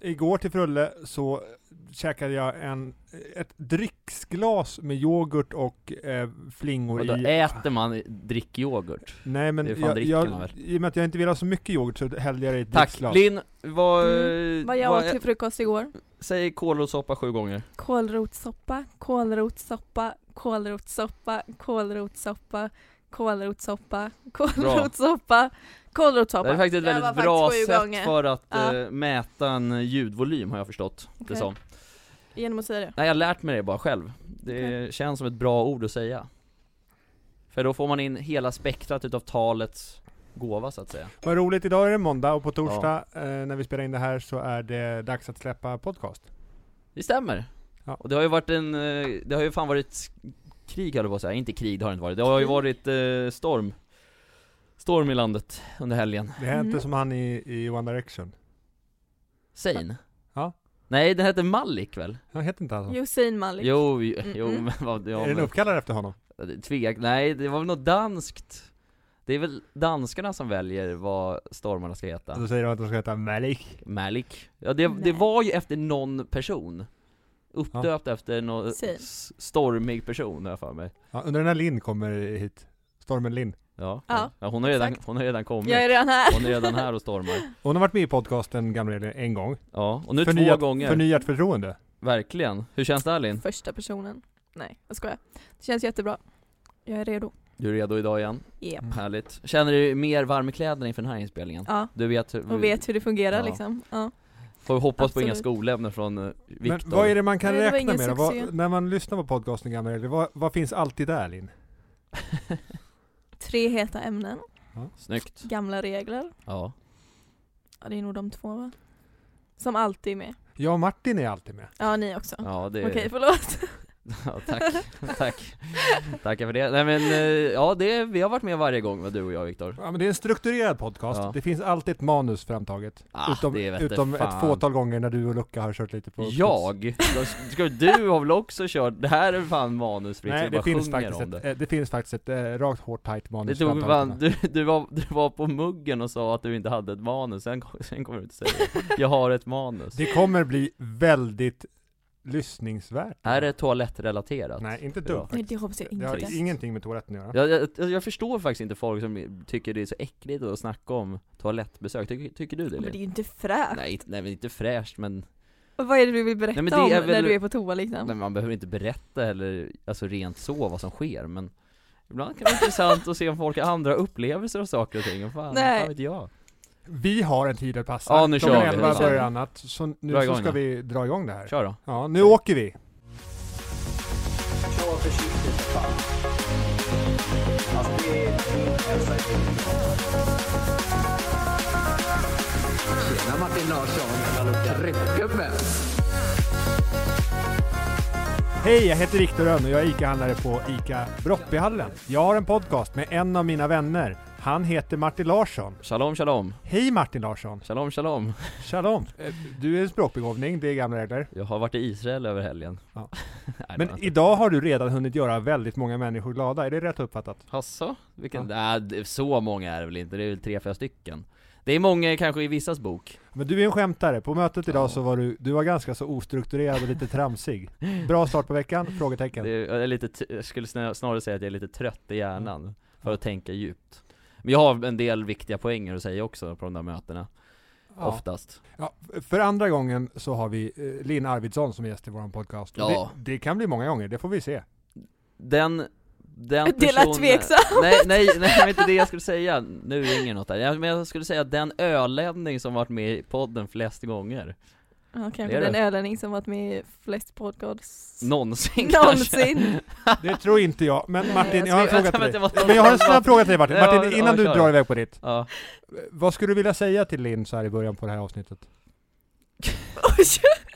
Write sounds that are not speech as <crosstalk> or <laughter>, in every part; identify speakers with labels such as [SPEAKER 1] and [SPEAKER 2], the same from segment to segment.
[SPEAKER 1] igår till Frulle så käkade jag en, ett drycksglas med yoghurt och eh, flingor
[SPEAKER 2] Och då
[SPEAKER 1] i.
[SPEAKER 2] äter man drickyoghurt.
[SPEAKER 1] Nej men
[SPEAKER 2] det är fan
[SPEAKER 1] jag,
[SPEAKER 2] dricker man
[SPEAKER 1] jag,
[SPEAKER 2] väl?
[SPEAKER 1] i och med att jag inte vill ha så mycket yoghurt så hällde jag det i ett
[SPEAKER 2] Tack!
[SPEAKER 1] drycksglas.
[SPEAKER 2] Linn, vad...
[SPEAKER 3] Mm. Vad jag åt till frukost igår?
[SPEAKER 2] Säg kålrotssoppa sju gånger.
[SPEAKER 3] Kålrotssoppa, kålrotssoppa, kålrotssoppa, kålrotssoppa, kålrotssoppa, kålrotssoppa,
[SPEAKER 2] Det är
[SPEAKER 3] kålrotssoppa.
[SPEAKER 2] faktiskt ett
[SPEAKER 3] Det här
[SPEAKER 2] väldigt
[SPEAKER 3] var
[SPEAKER 2] bra
[SPEAKER 3] faktiskt sju
[SPEAKER 2] sätt
[SPEAKER 3] gånger.
[SPEAKER 2] för att
[SPEAKER 3] Ja.
[SPEAKER 2] eh, mäta en ljudvolym har jag förstått det
[SPEAKER 3] Okej.
[SPEAKER 2] som.
[SPEAKER 3] Genom att säga det.
[SPEAKER 2] Nej jag har lärt mig det bara själv. Det känns som ett bra ord att säga. För då får man in hela spektrat utav talets gåva så att säga.
[SPEAKER 1] Vad roligt, idag är det måndag och på torsdag eh, när vi spelar in det här så är det dags att släppa podcast.
[SPEAKER 2] Det stämmer.
[SPEAKER 1] Ja.
[SPEAKER 2] Och det har ju varit en, eh, det har ju fan varit krig höll jag på att säga, inte krig det har det inte varit. Det har ju
[SPEAKER 3] Krig.
[SPEAKER 2] varit eh, storm. Storm i landet under helgen.
[SPEAKER 1] Det hände
[SPEAKER 3] Mm.
[SPEAKER 1] som han i, i One Direction.
[SPEAKER 2] Sein?
[SPEAKER 1] Ja.
[SPEAKER 2] Nej den heter Malik väl?
[SPEAKER 1] Han heter inte han så?
[SPEAKER 3] Hussein Malik.
[SPEAKER 2] Jo, ju-
[SPEAKER 3] Mm,
[SPEAKER 2] jo
[SPEAKER 3] mm.
[SPEAKER 2] men vad, ja,
[SPEAKER 1] är den
[SPEAKER 2] men,
[SPEAKER 1] uppkallad efter honom?
[SPEAKER 2] det- tvek, nej det var väl något danskt Det är väl danskarna som väljer vad stormarna ska
[SPEAKER 1] Och
[SPEAKER 2] heta
[SPEAKER 1] Då säger de att de ska heta Malik.
[SPEAKER 2] Malik Ja det, det
[SPEAKER 3] Nej.
[SPEAKER 2] var ju efter någon person Uppdöpt efter någon
[SPEAKER 3] Säg.
[SPEAKER 2] s- stormig person har jag för mig
[SPEAKER 1] Ja, undrar när Linn kommer hit? Stormen Linn.
[SPEAKER 2] Ja,
[SPEAKER 3] Ja,
[SPEAKER 2] hon, har redan,
[SPEAKER 3] exakt.
[SPEAKER 2] hon har redan kommit
[SPEAKER 3] Jag är redan här.
[SPEAKER 2] Hon är redan här och stormar
[SPEAKER 1] Hon har varit med i podcasten Gamla regler en gång.
[SPEAKER 2] Ja, och nu
[SPEAKER 1] Förnyat-
[SPEAKER 2] två gånger
[SPEAKER 1] Förnyat förtroende.
[SPEAKER 2] Verkligen, hur känns det här Linn?
[SPEAKER 3] <laughs> Första personen. Nej, jag skojar. Det känns jättebra. Jag är redo.
[SPEAKER 2] Du är redo idag igen?
[SPEAKER 3] Yep.
[SPEAKER 1] Mm.
[SPEAKER 2] Härligt Känner du dig mer varm i kläderna inför den här inspelningen?
[SPEAKER 3] Ja,
[SPEAKER 2] Du vet, hur-
[SPEAKER 3] och vet hur det fungerar
[SPEAKER 2] Mm. Ja.
[SPEAKER 3] liksom. Ja.
[SPEAKER 2] Får vi hoppas på
[SPEAKER 3] Absolut.
[SPEAKER 2] inga skolämnen från eh,
[SPEAKER 1] Men
[SPEAKER 2] Viktor
[SPEAKER 1] vad är det man kan
[SPEAKER 3] Nej, det var
[SPEAKER 1] räkna
[SPEAKER 3] ingen
[SPEAKER 1] med då? vad,
[SPEAKER 3] succé.
[SPEAKER 1] När man lyssnar på podcasten Gamla regler, vad, vad finns alltid där Linn?
[SPEAKER 3] Tre heta ämnen,
[SPEAKER 2] Snyggt
[SPEAKER 3] gamla regler.
[SPEAKER 2] Ja
[SPEAKER 3] Ja, det är nog de två va? Som alltid är med.
[SPEAKER 1] Jag och Martin är alltid med.
[SPEAKER 3] Ja, ni också.
[SPEAKER 2] Ja det
[SPEAKER 3] Okej, förlåt.
[SPEAKER 2] <laughs> ja, tack, <laughs> tack Tackar för det, nej men eh, ja det, vi har varit med varje gång va, du och jag Viktor
[SPEAKER 1] Ja, men det är en strukturerad podcast.
[SPEAKER 2] Ja.
[SPEAKER 1] Det finns alltid ett manus framtaget.
[SPEAKER 2] Ah,
[SPEAKER 1] utom
[SPEAKER 2] det vete
[SPEAKER 1] utom ett
[SPEAKER 2] fan.
[SPEAKER 1] fåtal gånger när du och Lucka har kört lite på...
[SPEAKER 2] Jag? Då Ska, du har väl också kört, det här är fan manusfritt,
[SPEAKER 1] Nej,
[SPEAKER 2] jag
[SPEAKER 1] det
[SPEAKER 2] bara
[SPEAKER 1] finns,
[SPEAKER 2] sjunger
[SPEAKER 1] faktiskt
[SPEAKER 2] om
[SPEAKER 1] ett,
[SPEAKER 2] det
[SPEAKER 1] eh, det finns faktiskt ett eh, rakt hårt tight
[SPEAKER 2] det
[SPEAKER 1] manus
[SPEAKER 2] tog
[SPEAKER 1] framtaget.
[SPEAKER 2] fan, du, du, var, du var på muggen och sa att du inte hade ett manus, sen, kom- sen kommer du inte säga Jag har ett manus
[SPEAKER 1] Det kommer bli väldigt lyssningsvärt.
[SPEAKER 2] Är det toalettrelaterat?
[SPEAKER 1] Nej, inte ett
[SPEAKER 2] Bra.
[SPEAKER 1] dugg
[SPEAKER 3] <laughs> Nej,
[SPEAKER 1] faktiskt.
[SPEAKER 3] det hoppas jag
[SPEAKER 1] Det har
[SPEAKER 3] inte.
[SPEAKER 1] ingenting med toaletten att göra.
[SPEAKER 2] Jag, jag, jag förstår faktiskt inte folk som tycker det är så äckligt att snacka om toalettbesök, tycker, tycker du det?
[SPEAKER 3] Men det är
[SPEAKER 2] Lin?
[SPEAKER 3] ju inte fräscht.
[SPEAKER 2] Nej, inte- nej men inte fräscht men
[SPEAKER 3] Och Vad är det du vill berätta
[SPEAKER 2] Nej, men det
[SPEAKER 3] om
[SPEAKER 2] är väl-
[SPEAKER 3] när du är på toa liksom?
[SPEAKER 2] Nej, man behöver inte berätta eller, alltså rent så vad som sker men Ibland kan det vara intressant att se om folk har andra upplevelser av saker och ting, och fan,
[SPEAKER 3] Nej.
[SPEAKER 2] fan vet jag?
[SPEAKER 1] Vi har en tid att passa.
[SPEAKER 2] Ja, nu
[SPEAKER 1] Klockan
[SPEAKER 3] kör vi.
[SPEAKER 1] 11
[SPEAKER 3] Nu kör vi.
[SPEAKER 1] börjar annat. Så nu
[SPEAKER 2] Dra
[SPEAKER 1] så
[SPEAKER 2] igång
[SPEAKER 1] ska
[SPEAKER 2] då.
[SPEAKER 1] vi dra igång det här.
[SPEAKER 2] Kör då!
[SPEAKER 1] Ja, nu åker vi.
[SPEAKER 4] Alltså, Tjena Martin Larsson, tryckgubbe!
[SPEAKER 1] Hej, jag heter Viktor Rönn och jag är ICA-handlare på ICA Brottbyhallen. Jag har en podcast med en av mina vänner. Han heter Martin Larsson.
[SPEAKER 2] Shalom shalom,
[SPEAKER 1] Hej Martin Larsson!
[SPEAKER 2] shalom shalom
[SPEAKER 1] Shalom! Eh, Du är en språkbegåvning, det är gamla regler.
[SPEAKER 2] Jag har varit i Israel över helgen
[SPEAKER 1] Ja.
[SPEAKER 2] <laughs> Nej,
[SPEAKER 1] Men idag har du redan hunnit göra väldigt många människor glada, är det rätt uppfattat?
[SPEAKER 2] Hasså? Vilken, nej det- så många är det väl inte, det är väl tre, fyra stycken Det är många kanske i vissas bok
[SPEAKER 1] Men du är en skämtare, på mötet idag
[SPEAKER 2] Ja.
[SPEAKER 1] så var du, du var ganska så ostrukturerad och lite tramsig. Bra start på veckan? Frågetecken.
[SPEAKER 2] Det är, jag, är lite, t- jag skulle snä- snarare säga att jag är lite trött i hjärnan för att tänka djupt Men jag har en del viktiga poänger att säga också på de där mötena,
[SPEAKER 1] Ja.
[SPEAKER 2] oftast
[SPEAKER 1] Ja, för andra gången så har vi eh, Linn Arvidsson som gäst i vår podcast. Och
[SPEAKER 2] Ja.
[SPEAKER 1] Det, det kan bli många gånger, det får vi se.
[SPEAKER 2] Den, den
[SPEAKER 3] <laughs> Det lät tveksamt.
[SPEAKER 2] Nej, nej, nej det var inte det jag skulle
[SPEAKER 3] <laughs>
[SPEAKER 2] säga, nu ringer något där Jag- Men jag skulle säga att den ölänning som varit med i podden flest gånger
[SPEAKER 3] Ja,
[SPEAKER 2] Det
[SPEAKER 3] kanske
[SPEAKER 2] är
[SPEAKER 3] den
[SPEAKER 2] det.
[SPEAKER 3] ölänning som varit med i flest podcasts
[SPEAKER 2] Någonsin kanske
[SPEAKER 3] någonsin.
[SPEAKER 1] Det tror inte jag. Men
[SPEAKER 2] <laughs>
[SPEAKER 3] Nej,
[SPEAKER 1] Martin,
[SPEAKER 3] jag
[SPEAKER 1] jag har en
[SPEAKER 2] ska-
[SPEAKER 1] fråga
[SPEAKER 2] vänta,
[SPEAKER 1] till dig.
[SPEAKER 2] vänta, vänta,
[SPEAKER 1] Men jag har en
[SPEAKER 2] vänta.
[SPEAKER 1] snabb fråga till dig Martin.
[SPEAKER 2] Ja,
[SPEAKER 1] Martin,
[SPEAKER 2] ja,
[SPEAKER 1] innan du
[SPEAKER 2] kör.
[SPEAKER 1] drar iväg på ditt.
[SPEAKER 2] <laughs> Ja,
[SPEAKER 1] eh, Vad skulle du vilja säga till Linn så här i början på det här avsnittet?
[SPEAKER 3] <laughs> Oj,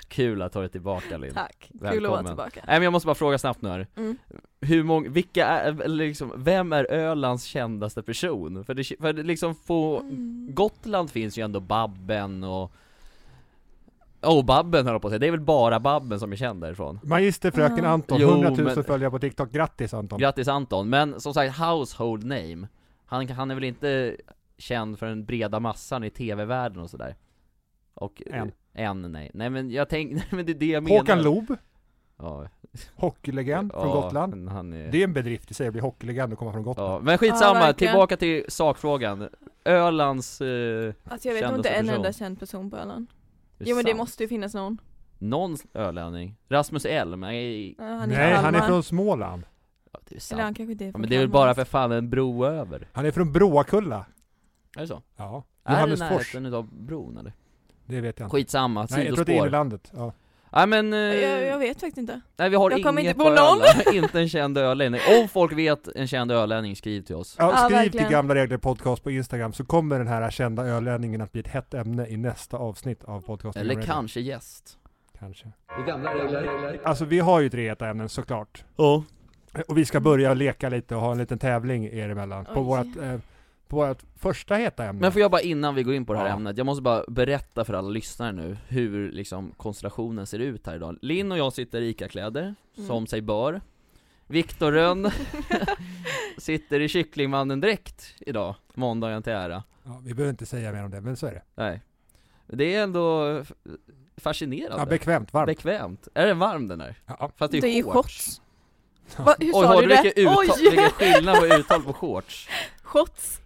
[SPEAKER 2] kul att ha dig tillbaka Linn
[SPEAKER 3] Tack, kul att vara
[SPEAKER 2] Välkommen.
[SPEAKER 3] tillbaka.
[SPEAKER 2] Nej men jag måste bara fråga snabbt nu här.
[SPEAKER 3] Mm.
[SPEAKER 2] Hur många, vilka är, eller liksom, vem är Ölands kändaste person? För det, för det liksom på
[SPEAKER 3] Mm.
[SPEAKER 2] Gotland finns ju ändå Babben och Oh, Babben höll jag på att säga, det är väl bara Babben som är känd därifrån
[SPEAKER 1] Magister fröken
[SPEAKER 3] Ja.
[SPEAKER 1] Anton,
[SPEAKER 2] Mm. Jo,
[SPEAKER 1] 100 000
[SPEAKER 2] men-
[SPEAKER 1] följare på TikTok. Grattis Anton!
[SPEAKER 2] Grattis Anton, men som sagt household name Han, han är väl inte känd för den breda massan i tv-världen och sådär? Och
[SPEAKER 1] Än.
[SPEAKER 2] En nej, nej men jag tänk, <laughs> nej men det är det jag menar
[SPEAKER 1] Håkan Loob,
[SPEAKER 2] Ja,
[SPEAKER 1] hockeylegend från Gotland.
[SPEAKER 2] men Han är...
[SPEAKER 1] Det är en bedrift i sig att bli hockeylegend och komma från Gotland.
[SPEAKER 2] ja, men skitsamma,
[SPEAKER 3] Ja, verkligen.
[SPEAKER 2] tillbaka till sakfrågan Ölands... Eh, är
[SPEAKER 3] Alltså jag vet
[SPEAKER 2] Känd
[SPEAKER 3] nog inte
[SPEAKER 2] som
[SPEAKER 3] en
[SPEAKER 2] person.
[SPEAKER 3] enda känd person på Öland. Jo men det
[SPEAKER 2] sant.
[SPEAKER 3] måste ju finnas någon.
[SPEAKER 2] Någon ölänning? Rasmus Elm? Nej,
[SPEAKER 3] Ja, han är
[SPEAKER 1] Nej,
[SPEAKER 3] från
[SPEAKER 1] han är
[SPEAKER 3] Kalmar.
[SPEAKER 1] från Småland.
[SPEAKER 2] ja, det är
[SPEAKER 3] Eller han
[SPEAKER 2] sant
[SPEAKER 3] kanske inte är
[SPEAKER 2] ja,
[SPEAKER 3] från
[SPEAKER 2] Men det är väl
[SPEAKER 3] Kalmar.
[SPEAKER 2] bara för fan en bro över?
[SPEAKER 1] Han är från Broakulla.
[SPEAKER 2] Är det så?
[SPEAKER 1] Ja.
[SPEAKER 2] Är det
[SPEAKER 1] Johannesfors.
[SPEAKER 2] närheten utav bron eller?
[SPEAKER 1] Det vet jag inte.
[SPEAKER 2] Skitsamma,
[SPEAKER 1] Nej, jag tror att det är
[SPEAKER 2] sidospår
[SPEAKER 1] inlandet. Ja.
[SPEAKER 2] Nej men... Eh,
[SPEAKER 3] Jag, jag vet faktiskt inte.
[SPEAKER 2] Nej vi har
[SPEAKER 3] Jag kommer
[SPEAKER 2] inget
[SPEAKER 3] inte på någon.
[SPEAKER 2] Öland. <laughs> inte en känd ölänning Om folk vet en känd ölänning, skriv till oss
[SPEAKER 1] Ja,
[SPEAKER 3] Ja,
[SPEAKER 1] skriv
[SPEAKER 3] verkligen.
[SPEAKER 1] till Gamla Regler Podcast på Instagram så kommer den här kända ölänningen att bli ett hett ämne i nästa avsnitt av podcasten.
[SPEAKER 2] Eller
[SPEAKER 1] Gamla Regler.
[SPEAKER 2] kanske gäst
[SPEAKER 1] Kanske.
[SPEAKER 4] I gamla regler.
[SPEAKER 1] Alltså vi har ju tre heta ämnen såklart.
[SPEAKER 2] Ja
[SPEAKER 1] Och vi ska börja leka lite och ha en liten tävling er emellan. På
[SPEAKER 3] Mm. Oj.
[SPEAKER 1] vårt, eh, på vårt första heta ämne.
[SPEAKER 2] Men får jag bara innan vi går in på det här
[SPEAKER 1] Ja.
[SPEAKER 2] ämnet, jag måste bara berätta för alla lyssnare nu hur liksom konstellationen ser ut här idag Linn och jag sitter i ICA-kläder,
[SPEAKER 3] Mm.
[SPEAKER 2] som sig bör Viktor
[SPEAKER 3] <laughs>
[SPEAKER 2] Rönn sitter i Kycklingmannen-dräkt idag, måndagen till ära
[SPEAKER 1] ja, vi behöver inte säga mer om det, men så är det.
[SPEAKER 2] Nej Det är ändå f-
[SPEAKER 1] Ja,
[SPEAKER 2] fascinerande
[SPEAKER 1] bekvämt, varmt.
[SPEAKER 2] Bekvämt, är den varm den där?
[SPEAKER 1] ja,
[SPEAKER 2] Fast det är,
[SPEAKER 3] Det är ju
[SPEAKER 2] shorts
[SPEAKER 3] Va, hur
[SPEAKER 2] Oj,
[SPEAKER 3] sa
[SPEAKER 2] har
[SPEAKER 3] du
[SPEAKER 2] du
[SPEAKER 3] det?
[SPEAKER 2] vilken, uttal, vilken
[SPEAKER 3] Oj!
[SPEAKER 2] skillnad på
[SPEAKER 3] <laughs>
[SPEAKER 2] uttal på shorts?
[SPEAKER 3] Shots!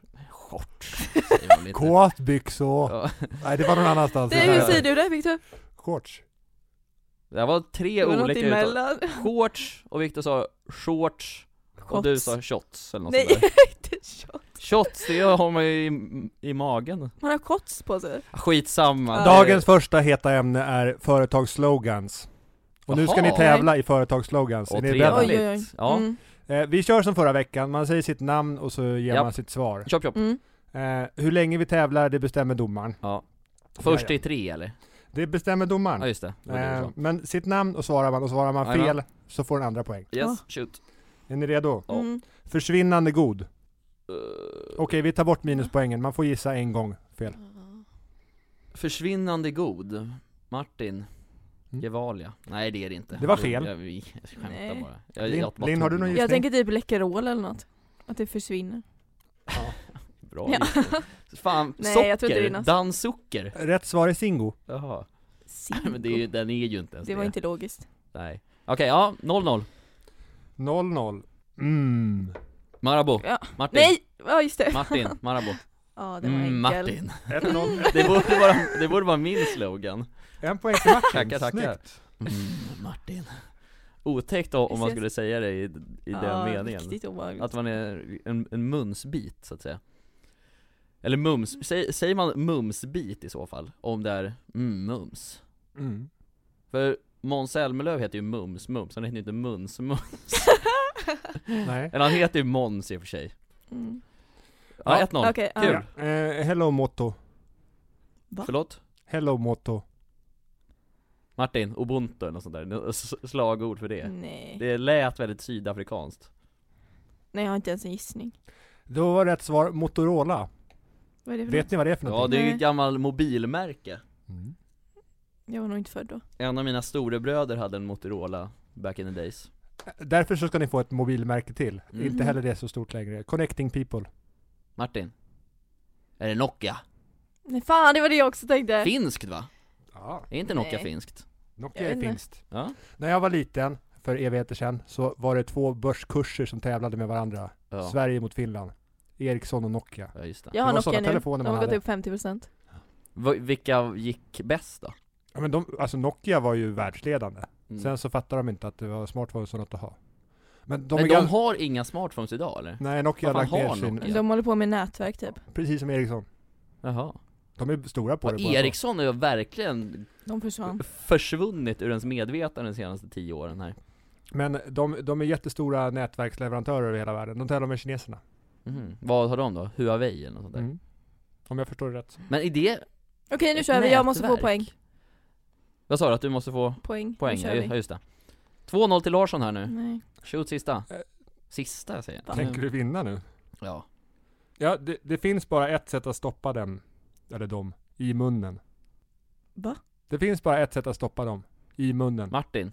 [SPEAKER 2] Shorts, säger man lite
[SPEAKER 1] Kåtbyxor.
[SPEAKER 2] Ja.
[SPEAKER 1] Nej, det var någon annanstans.
[SPEAKER 3] <laughs> Det, hur säger du det Viktor?
[SPEAKER 1] Shorts.
[SPEAKER 2] Det var
[SPEAKER 3] Det
[SPEAKER 2] tre
[SPEAKER 3] var något
[SPEAKER 2] olika uttal
[SPEAKER 3] emellan.
[SPEAKER 2] shorts och Viktor sa shorts och du
[SPEAKER 3] <laughs>
[SPEAKER 2] sa shots eller något
[SPEAKER 3] Nej,
[SPEAKER 2] sånt där.
[SPEAKER 3] inte shots.
[SPEAKER 2] Shots, det har man ju i, i magen.
[SPEAKER 3] Man har shots på sig.
[SPEAKER 2] Skitsamma.
[SPEAKER 3] Ja.
[SPEAKER 1] Dagens första heta ämne är företagsslogans. Och nu ska
[SPEAKER 2] Jaha.
[SPEAKER 1] ni tävla i företagsslogans. Är
[SPEAKER 2] Och
[SPEAKER 1] ni
[SPEAKER 2] trevligt.
[SPEAKER 1] beredda?
[SPEAKER 3] Oj, oj, oj.
[SPEAKER 2] Ja.
[SPEAKER 3] Mm.
[SPEAKER 1] Eh, vi kör som förra veckan, man säger sitt namn och så ger
[SPEAKER 2] Japp.
[SPEAKER 1] man sitt svar.
[SPEAKER 2] Chop chop.
[SPEAKER 3] Mm.
[SPEAKER 1] Eh, hur länge vi tävlar, det bestämmer domaren.
[SPEAKER 2] Ja. Först
[SPEAKER 1] Ja,
[SPEAKER 2] i tre eller?
[SPEAKER 1] ja. Det bestämmer domaren.
[SPEAKER 2] Ja just det. det var det du
[SPEAKER 1] eh,
[SPEAKER 2] sa.
[SPEAKER 1] men sitt namn och svarar man, och svarar man
[SPEAKER 2] Jajamän.
[SPEAKER 1] fel så får den andra poäng.
[SPEAKER 2] Yes, shoot.
[SPEAKER 1] Är ni redo?
[SPEAKER 2] Ja.
[SPEAKER 3] Mm.
[SPEAKER 1] Försvinnande god.
[SPEAKER 2] Eh,
[SPEAKER 1] Okej, vi tar bort minuspoängen, man får gissa en gång fel.
[SPEAKER 2] försvinnande god. Martin.
[SPEAKER 1] Mm.
[SPEAKER 2] Gevalia. Nej det är det inte.
[SPEAKER 1] Det var fel.
[SPEAKER 2] Jag, jag, jag skämtar
[SPEAKER 3] Nej.
[SPEAKER 2] bara. Jag,
[SPEAKER 1] Lin-
[SPEAKER 2] jag bara
[SPEAKER 1] Lin, har
[SPEAKER 2] tog
[SPEAKER 1] du någon
[SPEAKER 2] något
[SPEAKER 1] gissning?
[SPEAKER 3] Jag tänker typ Läkerol eller något. Att det försvinner.
[SPEAKER 2] Bra
[SPEAKER 3] Ja.
[SPEAKER 2] gissning. Fan,
[SPEAKER 3] <laughs> Nej,
[SPEAKER 2] socker.
[SPEAKER 3] jag tror inte det är något.
[SPEAKER 2] Danssocker.
[SPEAKER 1] Rätt svar är Singo.
[SPEAKER 2] Jaha. <laughs> <laughs> Men det är ju, den är ju inte ens
[SPEAKER 3] det var inte logiskt.
[SPEAKER 2] Nej. Okej, ja, 0-0.
[SPEAKER 1] 0-0. Mm.
[SPEAKER 2] Marabou.
[SPEAKER 3] Ja.
[SPEAKER 2] Martin.
[SPEAKER 3] Nej! Ja just det.
[SPEAKER 2] <laughs> Martin, Marabou.
[SPEAKER 3] Ja det var
[SPEAKER 2] Mm,
[SPEAKER 3] enkelt.
[SPEAKER 2] Martin.
[SPEAKER 1] 1-0.
[SPEAKER 2] Det borde, vara, det borde vara min slogan.
[SPEAKER 1] En poäng till Martin.
[SPEAKER 2] Tackar, tackar.
[SPEAKER 1] Snyggt.
[SPEAKER 2] Mm, Martin. Otäckt då, om man skulle säga det i, i den meningen.
[SPEAKER 3] Riktigt obehagligt.
[SPEAKER 2] Att man är en, en munsbit, så att säga. Eller mums, säg, säger man mumsbit i så fall? Om det är mm, mums.
[SPEAKER 1] Mm.
[SPEAKER 2] För Måns Zelmerlöw heter ju Mums-Mums, han heter ju inte Muns-Mums. <laughs>
[SPEAKER 1] Nej.
[SPEAKER 2] Eller han heter ju Måns i och för sig.
[SPEAKER 3] <laughs> Mm.
[SPEAKER 2] Ja,
[SPEAKER 1] Ja,
[SPEAKER 2] 1-0.
[SPEAKER 3] Okej,
[SPEAKER 2] Kul.
[SPEAKER 3] ja.
[SPEAKER 1] Ja. Eh, hello Motto.
[SPEAKER 3] Va?
[SPEAKER 2] Förlåt?
[SPEAKER 1] Hello Motto.
[SPEAKER 2] Martin, ubuntu eller något sånt där, Nå- s- slagord för det
[SPEAKER 3] Nej.
[SPEAKER 2] Det lät väldigt sydafrikanskt
[SPEAKER 3] Nej jag har inte ens en gissning.
[SPEAKER 1] Då var rätt svar Motorola.
[SPEAKER 3] Vad är det för
[SPEAKER 1] Vet ni vad det är för
[SPEAKER 2] Ja
[SPEAKER 1] någonting?
[SPEAKER 2] det är ju
[SPEAKER 3] Nej.
[SPEAKER 2] ett gammalt mobilmärke
[SPEAKER 1] Mm.
[SPEAKER 3] något? Jag var nog inte född då.
[SPEAKER 2] En av mina storebröder hade en Motorola back in the days
[SPEAKER 1] Därför så ska ni få ett mobilmärke till.
[SPEAKER 2] Mm.
[SPEAKER 1] Inte heller det är så stort längre. Connecting people.
[SPEAKER 2] Martin Är det Nokia?
[SPEAKER 3] Nej fan det var det jag också tänkte.
[SPEAKER 2] Finskt va?
[SPEAKER 1] Ja,
[SPEAKER 2] Är inte Nokia
[SPEAKER 3] Äh. Nej.
[SPEAKER 2] finskt?
[SPEAKER 1] Nokia
[SPEAKER 3] Jag
[SPEAKER 1] är
[SPEAKER 3] vet inte.
[SPEAKER 1] finst.
[SPEAKER 2] Ja?
[SPEAKER 1] När jag var liten, för evigheter sedan, så var det två börskurser som tävlade med varandra.
[SPEAKER 2] Ja,
[SPEAKER 1] Sverige mot Finland. Ericsson och Nokia.
[SPEAKER 2] ja just det
[SPEAKER 3] jag
[SPEAKER 1] Det var
[SPEAKER 3] har
[SPEAKER 1] sådana
[SPEAKER 3] Nokia nu.
[SPEAKER 1] telefoner
[SPEAKER 3] De
[SPEAKER 1] man
[SPEAKER 3] har gått
[SPEAKER 1] hade.
[SPEAKER 3] upp 50%.
[SPEAKER 2] Va- Vilka gick bäst då?
[SPEAKER 1] Ja, men de, alltså Nokia var ju världsledande.
[SPEAKER 2] Mm.
[SPEAKER 1] Sen så fattade de inte att det var smartphones och något att ha. Men de,
[SPEAKER 2] Men
[SPEAKER 1] är
[SPEAKER 2] de
[SPEAKER 1] gans-
[SPEAKER 2] har inga smartphones idag eller?
[SPEAKER 1] Nej, Nokia har
[SPEAKER 2] Vad
[SPEAKER 1] lagt
[SPEAKER 2] fan
[SPEAKER 1] ner
[SPEAKER 2] har
[SPEAKER 1] sin...
[SPEAKER 2] Nokia? Ja.
[SPEAKER 3] De håller på med nätverk typ.
[SPEAKER 1] Precis som Ericsson.
[SPEAKER 2] Jaha
[SPEAKER 1] De är stora på
[SPEAKER 2] Ja,
[SPEAKER 1] det. båda två.
[SPEAKER 2] Ericsson har ju verkligen
[SPEAKER 3] De försvann.
[SPEAKER 2] försvunnit ur ens medvetande de senaste tio åren här
[SPEAKER 1] Men de, de är jättestora nätverksleverantörer över hela världen. De tävlar med kineserna.
[SPEAKER 2] Mhm. Vad har de då? Huawei eller något sånt där?
[SPEAKER 1] Mm. Om jag förstår det rätt.
[SPEAKER 2] Men är det
[SPEAKER 3] Okej nu
[SPEAKER 2] ett
[SPEAKER 3] kör vi, jag måste få
[SPEAKER 2] nätverk?
[SPEAKER 3] poäng.
[SPEAKER 2] Vad sa du? Att du måste få
[SPEAKER 3] Poäng.
[SPEAKER 2] poäng?
[SPEAKER 3] Nu
[SPEAKER 2] Ja
[SPEAKER 3] kör
[SPEAKER 2] ju- ja,
[SPEAKER 3] vi.
[SPEAKER 2] just det 2-0 till Larsson här nu,
[SPEAKER 3] Nej.
[SPEAKER 2] shoot sista
[SPEAKER 1] Eh.
[SPEAKER 2] Sista säger jag
[SPEAKER 1] Tänker du vinna nu?
[SPEAKER 2] Ja
[SPEAKER 1] Ja, det, det finns bara ett sätt att stoppa dem, eller dem, i munnen.
[SPEAKER 3] Va?
[SPEAKER 1] Det finns bara ett sätt att stoppa dem, i munnen.
[SPEAKER 2] Martin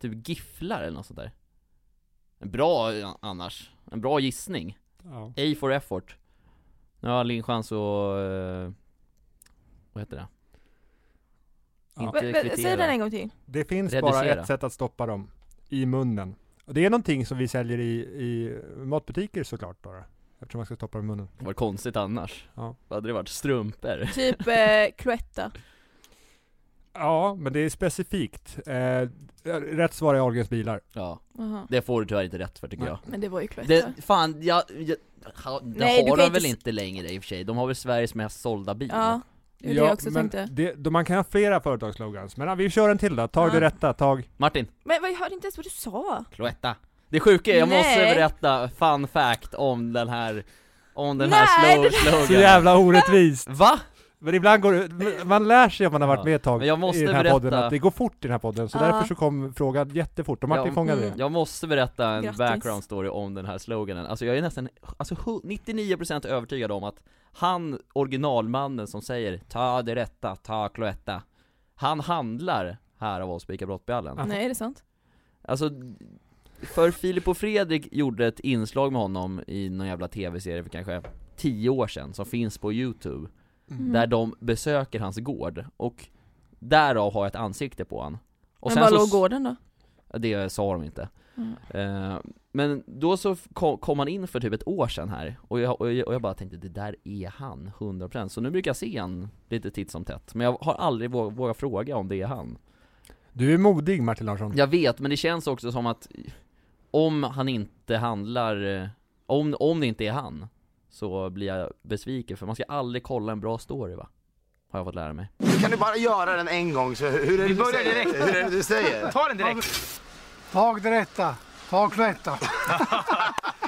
[SPEAKER 2] Typ gifflar eller något sånt där En bra ja, annars, en bra gissning
[SPEAKER 1] Ja.
[SPEAKER 2] A for effort Nu har Linn chans att... eh, vad heter det? inte
[SPEAKER 3] Vä- vä- Säg den
[SPEAKER 2] kvittera.
[SPEAKER 3] en gång till.
[SPEAKER 1] Det finns bara
[SPEAKER 2] Reducera.
[SPEAKER 1] ett sätt att stoppa dem. I munnen. Och det är någonting som vi säljer i, i matbutiker såklart då. då. Eftersom man ska stoppa dem i munnen.
[SPEAKER 2] Vad konstigt annars.
[SPEAKER 1] Ja.
[SPEAKER 2] Vad hade det varit? Strumpor?
[SPEAKER 3] Typ eh, Cloetta.
[SPEAKER 1] Ja, men det är specifikt. Eh, rätt svar är Ahlgrens bilar.
[SPEAKER 2] Ja,
[SPEAKER 3] Jaha.
[SPEAKER 2] det får du tyvärr inte rätt för tycker
[SPEAKER 1] Nej.
[SPEAKER 2] jag.
[SPEAKER 3] Men det var ju Cloetta.
[SPEAKER 2] Det, fan, jag, jag, ha, det
[SPEAKER 3] Nej, du
[SPEAKER 2] har
[SPEAKER 3] kan
[SPEAKER 2] de
[SPEAKER 3] inte
[SPEAKER 2] väl
[SPEAKER 3] s-
[SPEAKER 2] inte längre i och för sig? De har väl Sveriges mest sålda bil?
[SPEAKER 3] Ja, det är det jag också tänkte.
[SPEAKER 1] det, då man kan ha flera företagslogans. Men ja, vi kör en till då. Tag
[SPEAKER 3] Ja.
[SPEAKER 1] det rätta, tag.
[SPEAKER 2] Martin,
[SPEAKER 3] Men vad- jag hörde inte ens vad du sa.
[SPEAKER 2] Cloetta Det sjuka är, jag måste
[SPEAKER 3] Nej.
[SPEAKER 2] berätta fun fact om den här, om den
[SPEAKER 3] Nej,
[SPEAKER 2] här
[SPEAKER 3] det
[SPEAKER 2] slow, slogan
[SPEAKER 1] Så jävla orättvist!
[SPEAKER 2] Va?
[SPEAKER 1] Men ibland går det- man lär sig om man har varit
[SPEAKER 2] Ja.
[SPEAKER 1] med ett tag
[SPEAKER 2] Men jag måste
[SPEAKER 1] i den här
[SPEAKER 2] berätta-
[SPEAKER 1] podden att det går fort i den här podden. Så
[SPEAKER 3] Ja.
[SPEAKER 1] därför så kom frågan jättefort. Och Martin
[SPEAKER 2] Ja,
[SPEAKER 1] fångade
[SPEAKER 3] mm.
[SPEAKER 1] det.
[SPEAKER 2] Jag måste berätta en
[SPEAKER 3] Grattis.
[SPEAKER 2] background story om den här sloganen, alltså jag är nästan, alltså hu- 99% övertygad om att han, originalmannen som säger 'Ta det rätta, ta Cloetta' Han handlar här av oss på ICA Brottbjallen
[SPEAKER 1] Ja.
[SPEAKER 3] Nej, är det sant?
[SPEAKER 2] Alltså, för Filip och Fredrik gjorde ett inslag med honom i någon jävla tv-serie för kanske 10 år sedan, som finns på youtube
[SPEAKER 3] Mm.
[SPEAKER 2] Där de besöker hans gård, och därav har jag ett ansikte på han och
[SPEAKER 3] Men var
[SPEAKER 2] så-
[SPEAKER 3] låg gården då?
[SPEAKER 2] Det sa de inte
[SPEAKER 3] Mm.
[SPEAKER 2] Eh, Men då så f- ko- kom han in för typ ett år sedan här, och jag, och jag, och jag bara tänkte det där är han, 100% Så nu brukar jag se han lite titt som tätt, men jag har aldrig vå- vågat fråga om det är han
[SPEAKER 1] Du är modig Martin Larsson.
[SPEAKER 2] Jag vet, men det känns också som att om han inte handlar, eh, om, om det inte är han, så blir jag besviken för man ska aldrig kolla en bra story va? Har jag fått lära mig.
[SPEAKER 5] Kan du bara göra den en gång? Så hur är det du
[SPEAKER 6] börjar
[SPEAKER 5] säger?
[SPEAKER 6] direkt.
[SPEAKER 5] Hur är det du säger?
[SPEAKER 6] Ta den direkt.
[SPEAKER 7] Tag det rätta, tag Cloetta.
[SPEAKER 6] <laughs>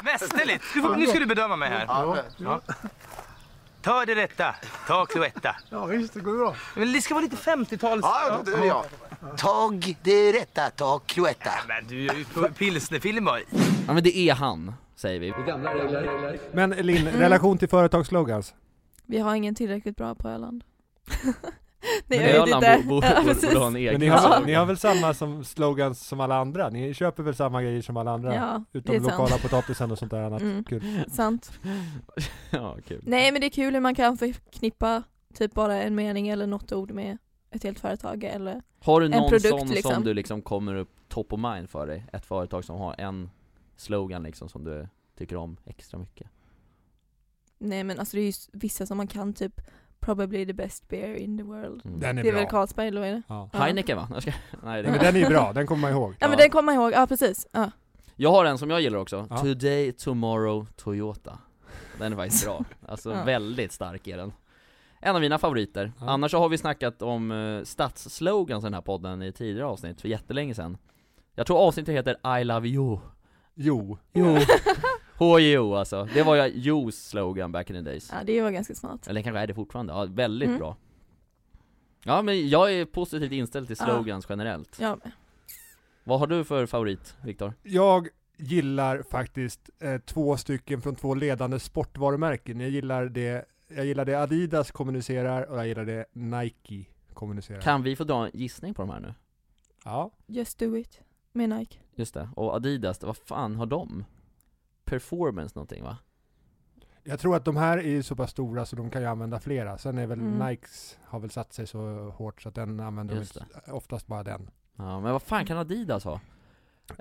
[SPEAKER 6] Mästerligt. Du får, nu ska du bedöma mig här.
[SPEAKER 5] Ja,
[SPEAKER 6] Ta det rätta. Ta Cloetta.
[SPEAKER 7] Ja visst, det går bra.
[SPEAKER 6] Men det ska vara lite 50-tals...
[SPEAKER 5] ja, då är det jag. Tag det rätta, tag Cloetta.
[SPEAKER 6] Men du gör ju p- pilsnerfilmer.
[SPEAKER 2] Ja men det är han, säger vi.
[SPEAKER 1] Men Linn,
[SPEAKER 3] Mm.
[SPEAKER 1] relation till företagslogans.
[SPEAKER 3] Vi har ingen tillräckligt bra på Öland. <laughs>
[SPEAKER 2] Men
[SPEAKER 3] Nej, jag vet
[SPEAKER 2] Öland
[SPEAKER 3] inte.
[SPEAKER 2] bo- bo-
[SPEAKER 3] <laughs> Ja,
[SPEAKER 2] borde
[SPEAKER 3] precis.
[SPEAKER 2] borde ha en
[SPEAKER 1] Men
[SPEAKER 2] egen.
[SPEAKER 1] ni har,
[SPEAKER 2] slogan.
[SPEAKER 1] ni har väl samma som slogans som alla andra? Ni köper väl samma grejer som alla andra?
[SPEAKER 3] Ja, det
[SPEAKER 1] Utom
[SPEAKER 3] är sant.
[SPEAKER 1] lokala potatisen och sånt där annat
[SPEAKER 3] Mm.
[SPEAKER 1] kul.
[SPEAKER 3] Sant.
[SPEAKER 2] <laughs> Ja, kul.
[SPEAKER 3] Nej, men det är kul hur man kan förknippa typ bara en mening eller något ord med ett helt företag eller
[SPEAKER 2] Har du någon
[SPEAKER 3] produkt,
[SPEAKER 2] sån som
[SPEAKER 3] liksom.
[SPEAKER 2] du liksom kommer upp top of mind för dig? Ett företag som har en slogan liksom som du tycker om extra mycket?
[SPEAKER 3] Nej men alltså det är ju s- vissa som man kan typ Probably the best beer in the world.
[SPEAKER 2] Mm.
[SPEAKER 1] Den är,
[SPEAKER 3] det är
[SPEAKER 1] bra.
[SPEAKER 3] väl Carlsberg eller vad är det?
[SPEAKER 1] Ja.
[SPEAKER 3] Ja.
[SPEAKER 2] Heineken va? <laughs> Jag ska... Nej, det
[SPEAKER 1] Nej, men den är ju bra, den kommer man ihåg.
[SPEAKER 3] Ja, men den kommer man ihåg, ja precis. Ja.
[SPEAKER 2] Jag har en som jag gillar också,
[SPEAKER 1] Ja.
[SPEAKER 2] Today, Tomorrow, Toyota Den är
[SPEAKER 1] <laughs>
[SPEAKER 2] faktiskt bra, alltså
[SPEAKER 3] Ja.
[SPEAKER 2] väldigt stark är den En av mina favoriter,
[SPEAKER 1] Ja.
[SPEAKER 2] annars så har vi snackat om uh, stadsslogans i den här podden i tidigare avsnitt, för jättelänge sedan Jag tror avsnittet heter I love you
[SPEAKER 1] Jo.
[SPEAKER 2] Jo HJO alltså, det var ju Joes slogan back in the days
[SPEAKER 3] <laughs> ja, det var ganska smart.
[SPEAKER 2] Eller kanske är det fortfarande, ja väldigt
[SPEAKER 3] Mm.
[SPEAKER 2] bra Ja men jag är positivt inställd till
[SPEAKER 3] Ja.
[SPEAKER 2] slogans generellt
[SPEAKER 3] Ja,
[SPEAKER 2] Vad har du för favorit, Viktor?
[SPEAKER 1] Jag gillar faktiskt eh, två stycken från två ledande sportvarumärken. Jag gillar det, jag gillar det Adidas kommunicerar och jag gillar det Nike kommunicerar.
[SPEAKER 2] Kan vi få dra en gissning på de här nu?
[SPEAKER 1] Ja.
[SPEAKER 3] just do it. Med Nike.
[SPEAKER 2] Just det, och Adidas, vad fan har de? Performance någonting va?
[SPEAKER 1] Jag tror att de här är ju så pass stora så de kan ju använda flera. Sen är väl
[SPEAKER 3] Mm.
[SPEAKER 1] Nikes har väl satt sig så hårt så att den använder de
[SPEAKER 2] Just
[SPEAKER 1] inte- oftast bara den.
[SPEAKER 2] Ja men vad fan kan Adidas ha?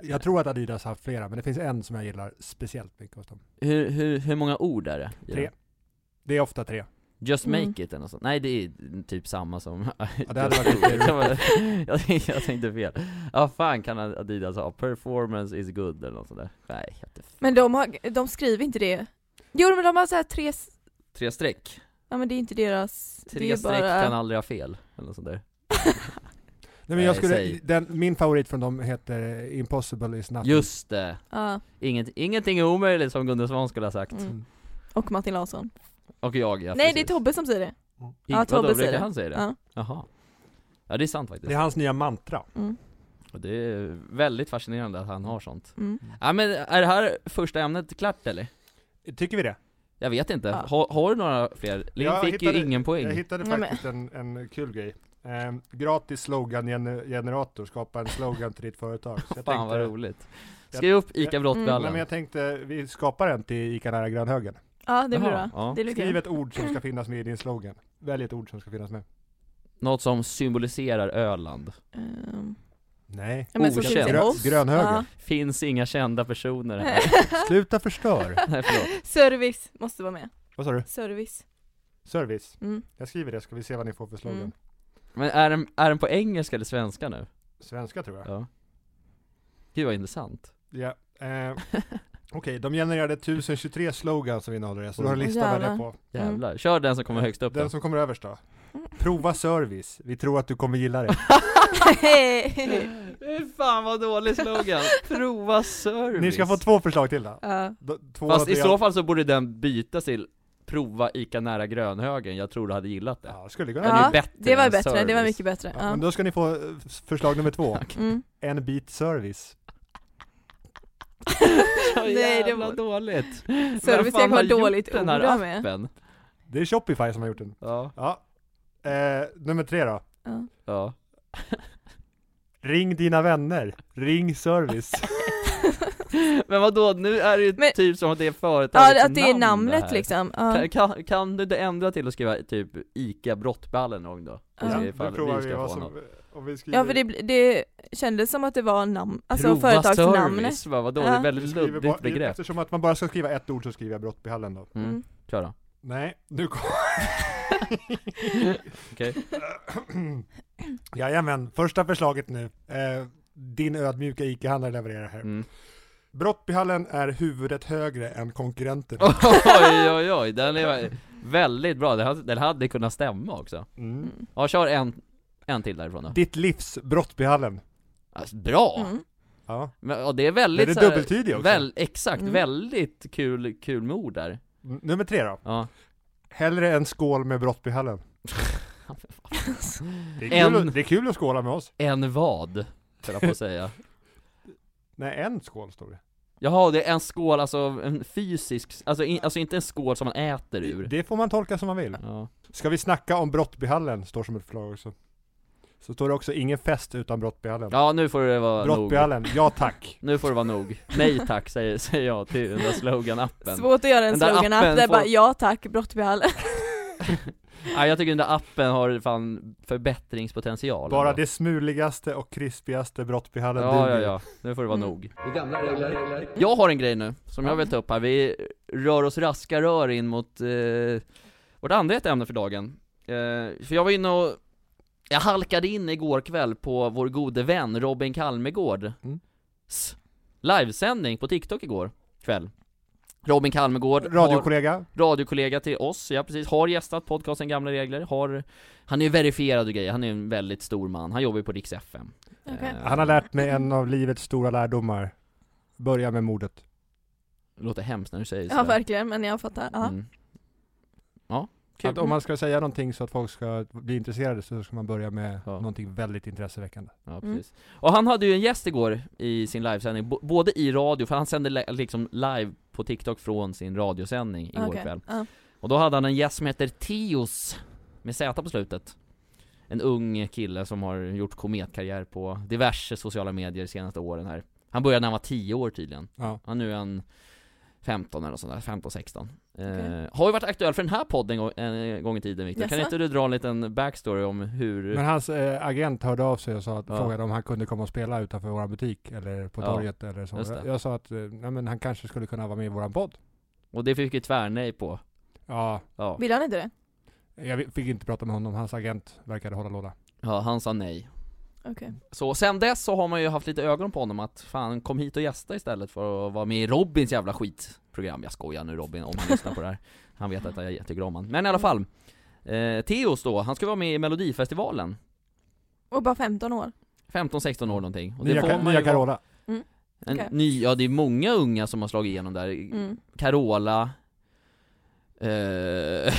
[SPEAKER 1] Jag tror att Adidas har haft flera, men det finns en som jag gillar speciellt mycket hos dem.
[SPEAKER 2] Hur, hur, hur många ord är det? i
[SPEAKER 1] Tre.
[SPEAKER 2] den?
[SPEAKER 1] Det är ofta tre.
[SPEAKER 2] Just make
[SPEAKER 3] Mm.
[SPEAKER 2] it eller något sånt. Nej det är typ samma som...
[SPEAKER 1] Ja,
[SPEAKER 2] <laughs>
[SPEAKER 1] det hade varit
[SPEAKER 2] Just do
[SPEAKER 1] lite
[SPEAKER 2] it. jag, tänkte, jag tänkte fel. Ja fan kan Adidas ha? Performance is good eller något sånt där. Nej, jag vet inte.
[SPEAKER 3] Men de, har, de skriver inte det. Jo men de har så här tre, s-
[SPEAKER 2] Tre streck.
[SPEAKER 3] ja men det är inte deras. det
[SPEAKER 2] Tre
[SPEAKER 3] är
[SPEAKER 2] streck
[SPEAKER 3] bara...
[SPEAKER 2] kan aldrig ha fel. Eller något sånt där.
[SPEAKER 1] Nej, men jag
[SPEAKER 2] Nej,
[SPEAKER 1] skulle,
[SPEAKER 2] säg.
[SPEAKER 1] den, min favorit från dem heter eh, Impossible is nothing.
[SPEAKER 2] Just det!
[SPEAKER 3] Ja,
[SPEAKER 2] Inget, ingenting är omöjligt som Gunde Svan skulle ha sagt.
[SPEAKER 3] mm. Och Martin Larsson.
[SPEAKER 2] Och jag ja,
[SPEAKER 3] Nej det är
[SPEAKER 2] precis.
[SPEAKER 3] Tobbe som säger det.
[SPEAKER 2] I-
[SPEAKER 3] Ja,
[SPEAKER 2] vadå,
[SPEAKER 3] Tobbe
[SPEAKER 2] brukar
[SPEAKER 3] säger det.
[SPEAKER 2] han säga det?
[SPEAKER 3] Ja.
[SPEAKER 2] Jaha. Ja det är sant faktiskt.
[SPEAKER 1] Det är hans nya mantra.
[SPEAKER 3] Mm.
[SPEAKER 2] Och det är väldigt fascinerande att han har sånt.
[SPEAKER 3] Mm.
[SPEAKER 2] Ja men är det här första ämnet klart eller?
[SPEAKER 1] Tycker vi det?
[SPEAKER 2] Jag vet inte,
[SPEAKER 3] Ja.
[SPEAKER 2] har, har du några fler? Linn
[SPEAKER 1] Jag
[SPEAKER 2] fick
[SPEAKER 1] hittade-
[SPEAKER 2] ju ingen poäng.
[SPEAKER 1] Jag hittade
[SPEAKER 3] Nej, men-
[SPEAKER 1] faktiskt en, en kul grej. Ehm, gratis slogan-generator, skapa en slogan till ditt företag. Så jag
[SPEAKER 2] Fan vad
[SPEAKER 1] tänkte,
[SPEAKER 2] roligt.
[SPEAKER 1] Jag-
[SPEAKER 2] Skriv upp ICA
[SPEAKER 1] jag-
[SPEAKER 3] Mm.
[SPEAKER 1] Nej,
[SPEAKER 2] Brottbjallen.
[SPEAKER 1] men jag tänkte, vi skapar en till ICA nära grönhögen.
[SPEAKER 3] Ja det blir
[SPEAKER 2] Jaha,
[SPEAKER 3] bra.
[SPEAKER 2] ja.
[SPEAKER 3] Det blir
[SPEAKER 1] Skriv
[SPEAKER 3] kul.
[SPEAKER 1] ett ord som ska finnas med i din slogan. Välj ett ord som ska finnas med.
[SPEAKER 2] Något som symboliserar Öland.
[SPEAKER 3] Ehm,
[SPEAKER 1] Nej.
[SPEAKER 3] ja, men så
[SPEAKER 2] Okänd.
[SPEAKER 3] ser det ut
[SPEAKER 1] Grö-
[SPEAKER 3] oss.
[SPEAKER 1] grönhöger.
[SPEAKER 3] Ja.
[SPEAKER 2] Finns inga kända personer
[SPEAKER 3] <laughs>
[SPEAKER 2] här. <laughs>
[SPEAKER 1] Sluta förstör.
[SPEAKER 2] Nej, förlåt.
[SPEAKER 3] Service måste vara med.
[SPEAKER 1] Vad sa du?
[SPEAKER 3] Service.
[SPEAKER 1] Service.
[SPEAKER 2] <laughs>
[SPEAKER 3] Mm.
[SPEAKER 1] Jag skriver det, ska vi se vad ni får för slogan.
[SPEAKER 3] Mm.
[SPEAKER 2] Men är den, är den på engelska eller svenska nu?
[SPEAKER 1] Svenska tror jag.
[SPEAKER 2] Ja. Gud vad intressant.
[SPEAKER 1] Ja. Eh, Okej, de genererade 1023 slogans som innehåller det, så du har en
[SPEAKER 2] Oj.
[SPEAKER 1] lista att välja
[SPEAKER 3] Jävlar. Mm.
[SPEAKER 1] på.
[SPEAKER 2] Jävlar. Kör den som kommer högst upp
[SPEAKER 1] Den
[SPEAKER 2] då.
[SPEAKER 1] som kommer överst då. Prova service, vi tror att du kommer gilla
[SPEAKER 2] <laughs>
[SPEAKER 1] det.
[SPEAKER 2] <laughs> Fy Fan vad dålig
[SPEAKER 3] <laughs>
[SPEAKER 2] slogan. Prova service.
[SPEAKER 1] Ni ska få två förslag till då.
[SPEAKER 3] Ja.
[SPEAKER 1] D- Två
[SPEAKER 2] Fast i
[SPEAKER 1] tre-
[SPEAKER 2] så fall så borde den byta till Prova Ica nära grönhögen, jag tror du hade gillat <laughs> det.
[SPEAKER 1] Ja, skulle kunna.
[SPEAKER 2] Den är ju
[SPEAKER 3] Ja,
[SPEAKER 2] bättre
[SPEAKER 3] det var
[SPEAKER 2] än
[SPEAKER 3] bättre, det var
[SPEAKER 2] service.
[SPEAKER 3] mycket bättre.
[SPEAKER 1] Ja, men
[SPEAKER 3] Ja.
[SPEAKER 1] då ska ni få eh, f- förslag nummer
[SPEAKER 2] <laughs>
[SPEAKER 1] två.
[SPEAKER 3] Mm.
[SPEAKER 1] En bit service.
[SPEAKER 2] Så
[SPEAKER 3] Nej, det
[SPEAKER 2] jävla
[SPEAKER 3] var-
[SPEAKER 2] dåligt.
[SPEAKER 3] Service
[SPEAKER 2] fan
[SPEAKER 3] kan vara
[SPEAKER 2] har gjort
[SPEAKER 3] dåligt
[SPEAKER 2] den här
[SPEAKER 3] ord med.
[SPEAKER 2] appen?
[SPEAKER 1] Det är Shopify som har gjort den.
[SPEAKER 2] Ja,
[SPEAKER 1] Ja. Eh, nummer tre då.
[SPEAKER 3] Ja.
[SPEAKER 2] ja.
[SPEAKER 1] Ring dina vänner. Ring service.
[SPEAKER 2] Men vadå, nu är det ju
[SPEAKER 3] Men-
[SPEAKER 2] typ som att det är företagets
[SPEAKER 3] ja, att det är
[SPEAKER 2] namn
[SPEAKER 3] namnet
[SPEAKER 2] här.
[SPEAKER 3] liksom. Ja.
[SPEAKER 2] Kan, kan, kan du inte ändra till att skriva typ Ica Brottballen någon gång då?
[SPEAKER 3] <laughs> Ja.
[SPEAKER 1] Ja,
[SPEAKER 2] Se ifall
[SPEAKER 1] då provar vi
[SPEAKER 2] ska
[SPEAKER 1] vad
[SPEAKER 2] få något.
[SPEAKER 1] som, om vi skriver,
[SPEAKER 3] Ja för det, bl- det kändes som att det var namn, alltså
[SPEAKER 2] Prova
[SPEAKER 3] företagsnamnet.
[SPEAKER 2] service, va? vadå? Det
[SPEAKER 3] Ja.
[SPEAKER 2] är väldigt
[SPEAKER 1] vi skriver bara,
[SPEAKER 2] luddigt begrepp.
[SPEAKER 1] Eftersom att man bara ska skriva ett ord så skriver jag brottbehallen då.
[SPEAKER 2] Mm.
[SPEAKER 3] Mm.
[SPEAKER 2] Kör
[SPEAKER 3] <laughs>
[SPEAKER 2] då.
[SPEAKER 1] Nej, nu kom...
[SPEAKER 2] Okej.
[SPEAKER 1] Jajamän, första förslaget nu. Eh, din ödmjuka ICA-handlare levererar här.
[SPEAKER 2] Mm.
[SPEAKER 1] Brottbyhallen är huvudet högre än konkurrenterna.
[SPEAKER 2] Oj oj oj, den är väldigt bra, den hade, den hade kunnat stämma också
[SPEAKER 1] Mm.
[SPEAKER 3] Mm.
[SPEAKER 2] Ja, kör en, en till därifrån då
[SPEAKER 1] Ditt livs Brottbyhallen.
[SPEAKER 2] alltså, Bra!
[SPEAKER 3] Mm.
[SPEAKER 1] Ja.
[SPEAKER 2] Men, och det är väldigt
[SPEAKER 1] Den är
[SPEAKER 2] så här-
[SPEAKER 1] dubbeltydig också.
[SPEAKER 2] Väl, exakt,
[SPEAKER 3] Mm.
[SPEAKER 2] väldigt kul, kul med ord där
[SPEAKER 1] N- Nummer tre då.
[SPEAKER 2] ja. <laughs>
[SPEAKER 1] Hellre en skål med Brottbyhallen. Det är,
[SPEAKER 2] En-
[SPEAKER 1] kul att, det är kul att skåla med oss.
[SPEAKER 2] En vad, höll jag på att säga
[SPEAKER 1] Nej, en skål står det.
[SPEAKER 2] Jaha, det är en skål, alltså en fysisk, alltså, in, alltså inte en skål som man äter ur
[SPEAKER 1] Det får man tolka som man vill.
[SPEAKER 2] Ja,
[SPEAKER 1] Ska vi snacka om Brottbyhallen, står som ett förslag också. Så står det också, ingen fest utan Brottbyhallen.
[SPEAKER 2] ja nu får det vara nog
[SPEAKER 1] Brottbyhallen, ja
[SPEAKER 2] <laughs>
[SPEAKER 1] tack.
[SPEAKER 2] Nu får det vara nog Nej tack, säger, säger jag till den där slogan-appen
[SPEAKER 3] Svårt att göra en
[SPEAKER 2] Den där
[SPEAKER 3] slogan
[SPEAKER 2] appen
[SPEAKER 3] app där
[SPEAKER 2] får-
[SPEAKER 3] bara ja tack, Brottbyhallen.
[SPEAKER 2] <laughs> Ja, jag tycker den där appen har fan förbättringspotential
[SPEAKER 1] Bara
[SPEAKER 2] ändå.
[SPEAKER 1] det smuligaste och krispigaste Brottbyhallen
[SPEAKER 2] Ja, ja,
[SPEAKER 1] duger.
[SPEAKER 2] ja, nu får det vara
[SPEAKER 3] Mm.
[SPEAKER 2] nog
[SPEAKER 4] Det är gamla regler. regler.
[SPEAKER 2] Jag har en grej nu, som jag vill ta upp här, vi rör oss raska rör in mot eh, vårt andra ett ämne för dagen eh, För jag var inne och, jag halkade in igår kväll på vår gode vän Robin Kalmegård
[SPEAKER 1] Mm.
[SPEAKER 2] s- Livesändning på TikTok igår kväll Robin Kalmegård har-
[SPEAKER 1] Radiokollega,
[SPEAKER 2] radiokollega till oss, jag precis har gästat podcasten Gamla Regler, har, han är ju verifierad och grejer, han är en väldigt stor man, han jobbar ju på Rix FM
[SPEAKER 3] Okej.
[SPEAKER 2] Eh,
[SPEAKER 1] han har lärt mig en av livets stora lärdomar. Börja med mordet.
[SPEAKER 2] Det låter hemskt när du säger
[SPEAKER 3] Ja verkligen, men jag fattar. Ja.
[SPEAKER 2] Mm. Ja, kul.
[SPEAKER 1] Att Typ, om man ska säga någonting så att folk ska bli intresserade så ska man börja med
[SPEAKER 2] Ja.
[SPEAKER 1] någonting väldigt intresseväckande.
[SPEAKER 2] Ja,
[SPEAKER 3] Mm.
[SPEAKER 2] precis. Och han hade ju en gäst igår i sin livesändning, bo- både i radio, för han sände li- liksom live på TikTok från sin radiosändning igår
[SPEAKER 3] Okej.
[SPEAKER 2] kväll.
[SPEAKER 3] Ja.
[SPEAKER 2] Och då hade han en gäst som heter Teos, med Z på slutet. En ung kille som har gjort kometkarriär på diverse sociala medier de senaste åren här. Han började när han var 10 år tydligen.
[SPEAKER 1] Ja.
[SPEAKER 2] Han nu är en 15 eller något sånt där, 15-16.
[SPEAKER 3] Okej.
[SPEAKER 2] Eh, har ju varit aktuell för den här podden en gång, en gång i tiden Victor. Kan
[SPEAKER 3] Jaså?
[SPEAKER 2] inte du dra en liten backstory om hur...
[SPEAKER 1] Men hans eh, agent hörde av sig och sa att,
[SPEAKER 2] Ja.
[SPEAKER 1] frågade om han kunde komma och spela utanför vår butik eller på
[SPEAKER 2] Ja,
[SPEAKER 1] torget eller så.
[SPEAKER 2] just det.
[SPEAKER 1] Jag, jag sa att eh, nej, men han kanske skulle kunna vara med i våran podd.
[SPEAKER 2] Och det fick ju tvärnej på.
[SPEAKER 1] Ja,
[SPEAKER 2] Ja.
[SPEAKER 3] Vill han inte det?
[SPEAKER 1] jag fick inte prata med honom. Hans agent verkade hålla låda.
[SPEAKER 2] Ja, han sa nej.
[SPEAKER 3] Okej.
[SPEAKER 2] Så sen dess så har man ju haft lite ögon på honom att fan kom hit och gästa istället för att vara med i Robins jävla skitprogram. Jag skojar nu Robin om han lyssnar på det här. Han vet att jag tycker om han. Men i alla fall. Eh, Theos då, han ska vara med i Melodifestivalen.
[SPEAKER 3] Och bara 15 år.
[SPEAKER 2] 15-16 år någonting. Och det
[SPEAKER 1] Nya,
[SPEAKER 2] får
[SPEAKER 1] Ka-
[SPEAKER 2] man
[SPEAKER 1] nya
[SPEAKER 2] ju vara-
[SPEAKER 1] Carola.
[SPEAKER 2] En
[SPEAKER 3] Okej.
[SPEAKER 2] ny, ja det är många unga som har slagit igenom där.
[SPEAKER 3] Mm.
[SPEAKER 2] Carola, eh,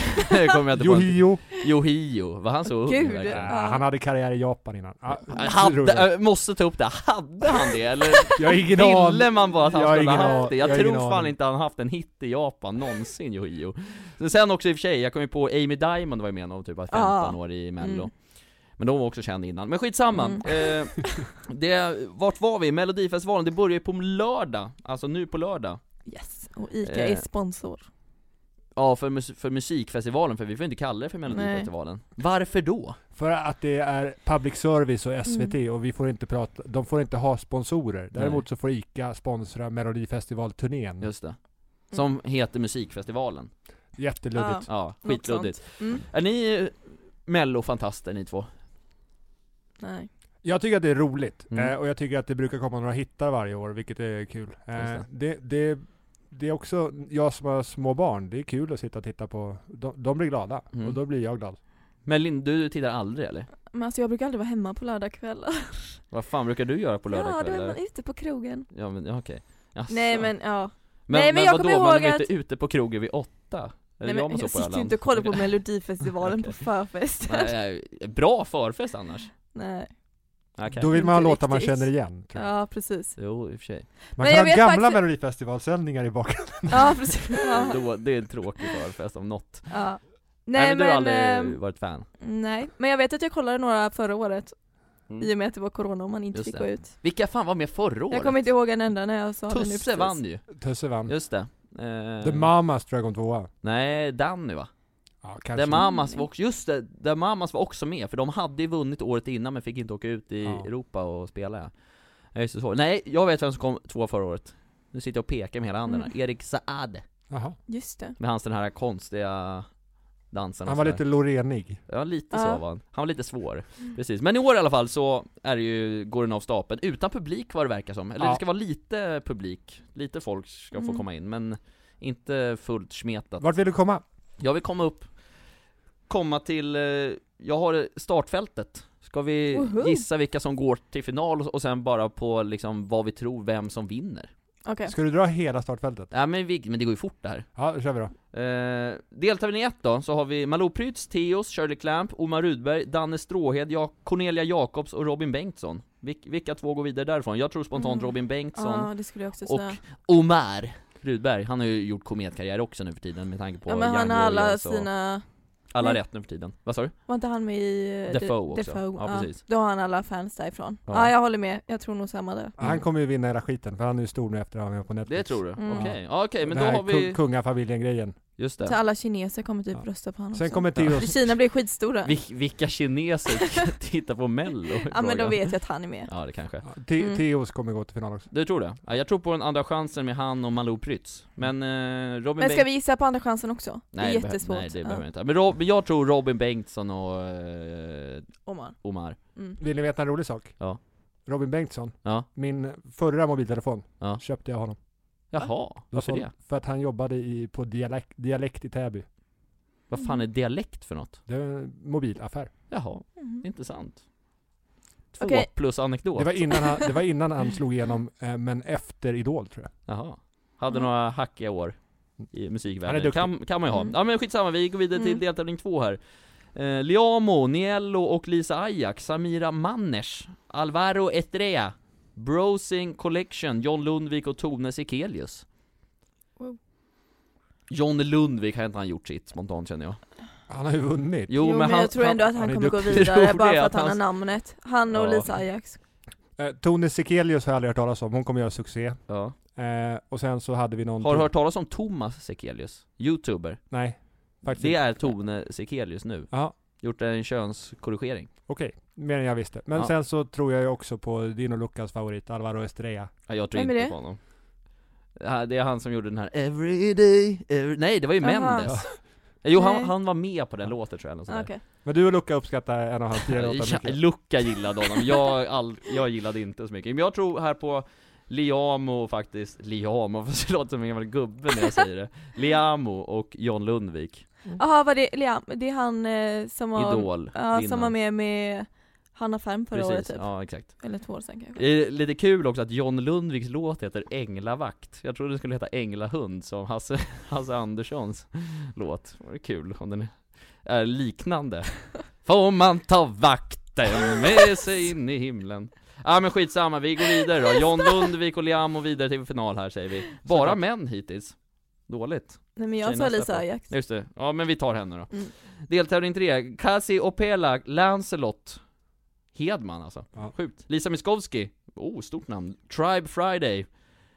[SPEAKER 2] <laughs> kommer jag inte på. en-
[SPEAKER 1] Yohio.
[SPEAKER 2] Yohio, var han så ung?
[SPEAKER 3] Gud.
[SPEAKER 1] Ja,
[SPEAKER 2] verkligen?
[SPEAKER 1] Eh, han hade karriär i Japan innan. Ah,
[SPEAKER 2] Hade,
[SPEAKER 1] roligt.
[SPEAKER 2] jag måste ta upp det, hade han det eller?
[SPEAKER 1] jag har ingen
[SPEAKER 2] Ville
[SPEAKER 1] aning.
[SPEAKER 2] man bara att han
[SPEAKER 1] Jag har
[SPEAKER 2] skulle ha
[SPEAKER 1] ingen
[SPEAKER 2] haft
[SPEAKER 1] an-
[SPEAKER 2] det? Jag,
[SPEAKER 1] jag har
[SPEAKER 2] tror
[SPEAKER 1] ingen
[SPEAKER 2] fan
[SPEAKER 1] aning.
[SPEAKER 2] inte han haft en hit i Japan någonsin, Yohio Men Sen också i och för sig, jag kom ju på Amy Diamond var ju med när hon typ var 15
[SPEAKER 3] Ah.
[SPEAKER 2] år i mello
[SPEAKER 3] Mm.
[SPEAKER 2] Men de var också kända innan, men skitsamma!
[SPEAKER 3] Mm.
[SPEAKER 2] Eh, det, vart var vi? Melodifestivalen, det börjar ju på lördag, alltså nu på lördag
[SPEAKER 3] Yes. Och Ica är
[SPEAKER 2] Eh.
[SPEAKER 3] sponsor.
[SPEAKER 2] Ja, för, mus- för musikfestivalen, för vi får inte kalla det för melodifestivalen. Varför då?
[SPEAKER 1] För att det är public service och SVT och vi får inte prata, de får inte ha sponsorer. Däremot så får ICA sponsra Melodifestivalturnén.
[SPEAKER 2] Just det. Som heter musikfestivalen.
[SPEAKER 1] Jätteluddigt.
[SPEAKER 2] Ja,
[SPEAKER 3] Mm. Något
[SPEAKER 2] skitluddigt.
[SPEAKER 3] Mm.
[SPEAKER 2] Är ni eh, mellofantaster ni två?
[SPEAKER 3] Nej.
[SPEAKER 1] Jag tycker att det är roligt
[SPEAKER 2] Mm.
[SPEAKER 1] eh, och jag tycker att det brukar komma några hittar varje år, vilket är kul. Eh,
[SPEAKER 2] Just
[SPEAKER 1] det, det, det är också, jag som har små barn, det är kul att sitta och titta på, de, de blir glada
[SPEAKER 2] Mm.
[SPEAKER 1] och då blir jag glad.
[SPEAKER 2] Melin, du tittar aldrig eller?
[SPEAKER 3] Men alltså jag brukar aldrig vara hemma på lördagskvällar.
[SPEAKER 2] Vad fan brukar du göra på
[SPEAKER 3] <laughs> Ja, då är
[SPEAKER 2] lördagskvällar?
[SPEAKER 3] man ute på krogen.
[SPEAKER 2] Ja men, ja, okej. Jaså.
[SPEAKER 3] Nej men ja.
[SPEAKER 2] Men,
[SPEAKER 3] Nej, men jag
[SPEAKER 2] vadå?
[SPEAKER 3] kommer
[SPEAKER 2] man är
[SPEAKER 3] ihåg
[SPEAKER 2] väl inte ute på krogen vid åtta? Eller
[SPEAKER 3] Nej,
[SPEAKER 2] gör
[SPEAKER 3] men
[SPEAKER 2] man så
[SPEAKER 3] jag
[SPEAKER 2] på
[SPEAKER 3] sitter ju
[SPEAKER 2] Öland?
[SPEAKER 3] inte
[SPEAKER 2] <laughs>
[SPEAKER 3] och kollar på melodifestivalen på förfesten. <laughs> Nej.
[SPEAKER 2] Nej, nej, bra förfest annars. Okej.
[SPEAKER 1] Då vill man ha
[SPEAKER 3] Inte
[SPEAKER 1] låtar man
[SPEAKER 3] riktigt.
[SPEAKER 1] känner igen. Tror jag.
[SPEAKER 3] Ja
[SPEAKER 2] <laughs>
[SPEAKER 3] precis.
[SPEAKER 2] Jo, i och för sig.
[SPEAKER 1] Man
[SPEAKER 3] Men
[SPEAKER 1] kan
[SPEAKER 3] jag
[SPEAKER 1] ha
[SPEAKER 3] vet
[SPEAKER 1] gamla
[SPEAKER 3] faktiskt-
[SPEAKER 1] Melodifestivalsändningar i bakgrunden.
[SPEAKER 3] Ja precis. Ja.
[SPEAKER 2] Då, det är en tråkig förfest om något.
[SPEAKER 3] Ja.
[SPEAKER 2] Nej,
[SPEAKER 3] Nej,
[SPEAKER 2] men du har
[SPEAKER 3] men,
[SPEAKER 2] aldrig
[SPEAKER 3] ehm,
[SPEAKER 2] varit fan.
[SPEAKER 3] nej, men jag vet att jag kollade några förra året
[SPEAKER 2] Mm.
[SPEAKER 3] I och med att det var corona och man inte
[SPEAKER 2] Just
[SPEAKER 3] fick
[SPEAKER 2] det.
[SPEAKER 3] gå ut
[SPEAKER 2] Vilka fan var med förra året?
[SPEAKER 3] Jag kommer inte ihåg en enda när jag sa det nu
[SPEAKER 2] Tusse
[SPEAKER 3] precis.
[SPEAKER 2] vann ju,
[SPEAKER 1] <laughs> Tusse vann.
[SPEAKER 2] just det. Eh,
[SPEAKER 1] The Mamas tror jag kom tvåa.
[SPEAKER 2] Nej, Danny va?
[SPEAKER 1] Ja,
[SPEAKER 2] The
[SPEAKER 1] kanske.
[SPEAKER 2] Mamas var också, just det, The Mamas var också med, för de hade ju vunnit året innan men fick inte åka ut i
[SPEAKER 1] Ja.
[SPEAKER 2] Europa och spela ja. Jag är så svår. Nej, jag vet vem som kom tvåa förra året. Nu sitter jag och pekar med hela handen här.
[SPEAKER 3] Mm.
[SPEAKER 2] Erik Saade,
[SPEAKER 1] Jaha.
[SPEAKER 3] Just det
[SPEAKER 2] med hans den här konstiga dansen och
[SPEAKER 1] Han var
[SPEAKER 2] sådär.
[SPEAKER 1] lite lorenig.
[SPEAKER 2] Ja lite
[SPEAKER 3] Ja. Mm.
[SPEAKER 2] så var han, han var lite svår, precis. Men i år i alla fall så är det ju, går den av stapeln, utan publik vad det verkar som, eller
[SPEAKER 1] Ja.
[SPEAKER 2] det ska vara lite publik, lite folk ska få
[SPEAKER 3] Mm.
[SPEAKER 2] komma in men inte fullt smetat
[SPEAKER 1] Vart vill du komma?
[SPEAKER 2] Jag vill komma upp, komma till, eh, jag har startfältet Ska vi
[SPEAKER 3] Woho!
[SPEAKER 2] gissa vilka som går till final och- och sen bara på liksom vad vi tror, vem som vinner?
[SPEAKER 3] Okej,
[SPEAKER 1] Ska du dra hela startfältet?
[SPEAKER 2] Nej men, vi, men det går ju fort det här
[SPEAKER 1] Ja, då kör vi då.
[SPEAKER 2] Eh, deltävling 1 då, så har vi Malou Prytz, Theos, Shirley Clamp, Omar Rudberg, Danne Stråhed, ja- Cornelia Jacobs och Robin Bengtsson. Vil- vilka två går vidare därifrån? Jag tror spontant
[SPEAKER 3] Mm.
[SPEAKER 2] Robin Bengtsson
[SPEAKER 3] ja det skulle jag också
[SPEAKER 2] och
[SPEAKER 3] säga
[SPEAKER 2] Omar Rudberg. Han har ju gjort kometkarriär också nu för tiden med tanke på
[SPEAKER 3] Ja men han har
[SPEAKER 2] Young
[SPEAKER 3] alla
[SPEAKER 2] Royals och
[SPEAKER 3] sina,
[SPEAKER 2] Alla
[SPEAKER 3] Nej.
[SPEAKER 2] rätt nu för tiden. Vad sa du?
[SPEAKER 3] var inte han med i eh,
[SPEAKER 2] Defoe också.
[SPEAKER 3] Defoe,
[SPEAKER 2] Ja, precis.
[SPEAKER 3] Då har han alla fans därifrån
[SPEAKER 2] Ja.
[SPEAKER 3] ja. jag håller med, jag tror nog samma där
[SPEAKER 1] Han kommer ju vinna hela skiten, för han är ju stor nu efter att han var med på Netflix.
[SPEAKER 2] Det tror du?
[SPEAKER 3] Mm.
[SPEAKER 2] Okej, ja, okej men
[SPEAKER 1] Den
[SPEAKER 2] då
[SPEAKER 1] här
[SPEAKER 2] har vi...
[SPEAKER 1] kung- Kungafamiljen-grejen.
[SPEAKER 2] Just
[SPEAKER 3] Så
[SPEAKER 2] det.
[SPEAKER 3] alla kineser kommer typ
[SPEAKER 1] Ja.
[SPEAKER 3] rösta på honom
[SPEAKER 1] Sen
[SPEAKER 3] också.
[SPEAKER 1] kommer Theo...
[SPEAKER 3] Kina blir skitstora
[SPEAKER 2] Vil- vilka
[SPEAKER 3] <laughs>
[SPEAKER 2] kineser tittar på mello?
[SPEAKER 3] Ja men då
[SPEAKER 2] Frågan.
[SPEAKER 3] vet jag att han är med
[SPEAKER 2] Ja det kanske.
[SPEAKER 1] Te-
[SPEAKER 3] Mm.
[SPEAKER 1] Theos kommer gå till final också.
[SPEAKER 2] Du tror det? Ja, jag tror på den andra chansen med han och Malou Prytz. Men eh, Robin
[SPEAKER 3] Men
[SPEAKER 2] Bengtsson...
[SPEAKER 3] ska vi gissa på andra chansen också?
[SPEAKER 2] Nej,
[SPEAKER 3] det
[SPEAKER 2] det
[SPEAKER 3] är
[SPEAKER 2] behö-
[SPEAKER 3] jättesvårt
[SPEAKER 2] Nej, det
[SPEAKER 3] Ja.
[SPEAKER 2] behöver vi inte. Men Rob, jag tror Robin Bengtsson och eh,
[SPEAKER 3] Omar.
[SPEAKER 2] Omar.
[SPEAKER 3] Mm.
[SPEAKER 1] Vill ni veta en rolig sak?
[SPEAKER 2] Ja.
[SPEAKER 1] Robin Bengtsson,
[SPEAKER 2] Ja.
[SPEAKER 1] min förra mobiltelefon,
[SPEAKER 2] Ja.
[SPEAKER 1] köpte jag honom.
[SPEAKER 2] Jaha, varför
[SPEAKER 1] Alltså,
[SPEAKER 2] det?
[SPEAKER 1] För att han jobbade i, på dialekt, dialekt i Täby.
[SPEAKER 2] Vad fan är dialekt för något?
[SPEAKER 1] Det var en mobilaffär.
[SPEAKER 2] Jaha,
[SPEAKER 3] Mm.
[SPEAKER 2] intressant. Två
[SPEAKER 3] Okej.
[SPEAKER 2] plus anekdot.
[SPEAKER 1] Det var, innan han, det var innan han slog igenom, eh, men efter Idol tror jag.
[SPEAKER 2] Jaha. Hade
[SPEAKER 3] Mm.
[SPEAKER 2] några hackiga år i
[SPEAKER 1] Han är
[SPEAKER 2] musikvärlden.
[SPEAKER 1] duktig.
[SPEAKER 2] Kan, kan man ju ha.
[SPEAKER 3] Mm.
[SPEAKER 2] Ja men skitsamma, vi går vidare till
[SPEAKER 3] Mm.
[SPEAKER 2] deltävling två här. Eh, Liamo, Niello och Lisa Ajax, Samira Manners, Alvaro Etrea, Browsing Collection, John Lundvik och Tone Sekelius.
[SPEAKER 3] Wow.
[SPEAKER 2] John Lundvik har inte han gjort sitt spontant känner jag.
[SPEAKER 1] Han har ju vunnit.
[SPEAKER 2] Jo, men, han,
[SPEAKER 3] jag tror ändå att han,
[SPEAKER 1] han är
[SPEAKER 3] kommer gå
[SPEAKER 1] duktig.
[SPEAKER 2] <laughs>
[SPEAKER 3] vidare
[SPEAKER 2] Tror
[SPEAKER 3] bara
[SPEAKER 2] det, att
[SPEAKER 3] för att han har
[SPEAKER 2] han-
[SPEAKER 3] namnet. Han och
[SPEAKER 2] Ja.
[SPEAKER 3] Lisa Ajax.
[SPEAKER 1] Eh, Tone Sekelius har jag aldrig hört talas om, hon kommer göra succé.
[SPEAKER 2] ja.
[SPEAKER 1] Eh, och sen så hade vi någon...
[SPEAKER 2] Har
[SPEAKER 1] till-
[SPEAKER 2] du hört talas om Thomas Sekelius? Youtuber.
[SPEAKER 1] Nej, faktiskt
[SPEAKER 2] Det
[SPEAKER 1] inte.
[SPEAKER 2] är Tone Sekelius nu.
[SPEAKER 1] Ja.
[SPEAKER 2] Gjort en könskorrigering.
[SPEAKER 1] Okej, mer än jag visste. Men
[SPEAKER 2] Ja.
[SPEAKER 1] sen så tror jag ju också på din och Lukas favorit, Alvaro Estrella.
[SPEAKER 2] Ja, jag tror
[SPEAKER 3] Vem är
[SPEAKER 2] inte
[SPEAKER 3] det?
[SPEAKER 2] på honom Ja, Det är han som gjorde den här 'Every day, every... Nej det var ju
[SPEAKER 3] Jaha.
[SPEAKER 2] Mendes Jo han,
[SPEAKER 3] Nej.
[SPEAKER 2] han var med på den låten tror jag eller nåt sånt där.
[SPEAKER 3] Okej.
[SPEAKER 1] Men du och Luca uppskattar en av hans tidigare
[SPEAKER 2] Ja,
[SPEAKER 1] låtar mycket.
[SPEAKER 2] Luca gillade honom, jag, all... jag gillade inte så mycket Men jag tror här på Liamo faktiskt, Liamo, <laughs> fast det låter som en gammal gubbe när jag säger det Liamo och John Lundvik,
[SPEAKER 1] Mm.
[SPEAKER 3] Jaha, var det Liam? Det är han eh, som var,
[SPEAKER 2] Idol
[SPEAKER 3] ja, som
[SPEAKER 2] vinnaren.
[SPEAKER 3] var med med Hanna Ferm förra året typ.
[SPEAKER 2] ja exakt
[SPEAKER 3] Eller två år sedan kanske.
[SPEAKER 2] Det är lite kul också att John Lundviks låt heter Änglavakt Jag trodde den skulle heta Änglahund som Hasse, <laughs> Hasse Anderssons låt Det vore kul om den är liknande Får man ta vakten med sig in i himlen Ja ah, men skitsamma, vi går vidare då John Lundvik och Liamo vidare till final här säger vi Bara
[SPEAKER 1] Såklart.
[SPEAKER 2] män hittills Dåligt,
[SPEAKER 3] Nej men jag
[SPEAKER 2] Tjejerna
[SPEAKER 3] sa Lisa
[SPEAKER 2] släpper.
[SPEAKER 3] Ajax.
[SPEAKER 2] just det, ja men vi tar henne då
[SPEAKER 3] Mm.
[SPEAKER 2] Deltävling 3, Kasi Opela, Lancelot Hedman alltså,
[SPEAKER 1] Ja.
[SPEAKER 2] sjukt Lisa Miskovsky, oh stort namn Tribe Friday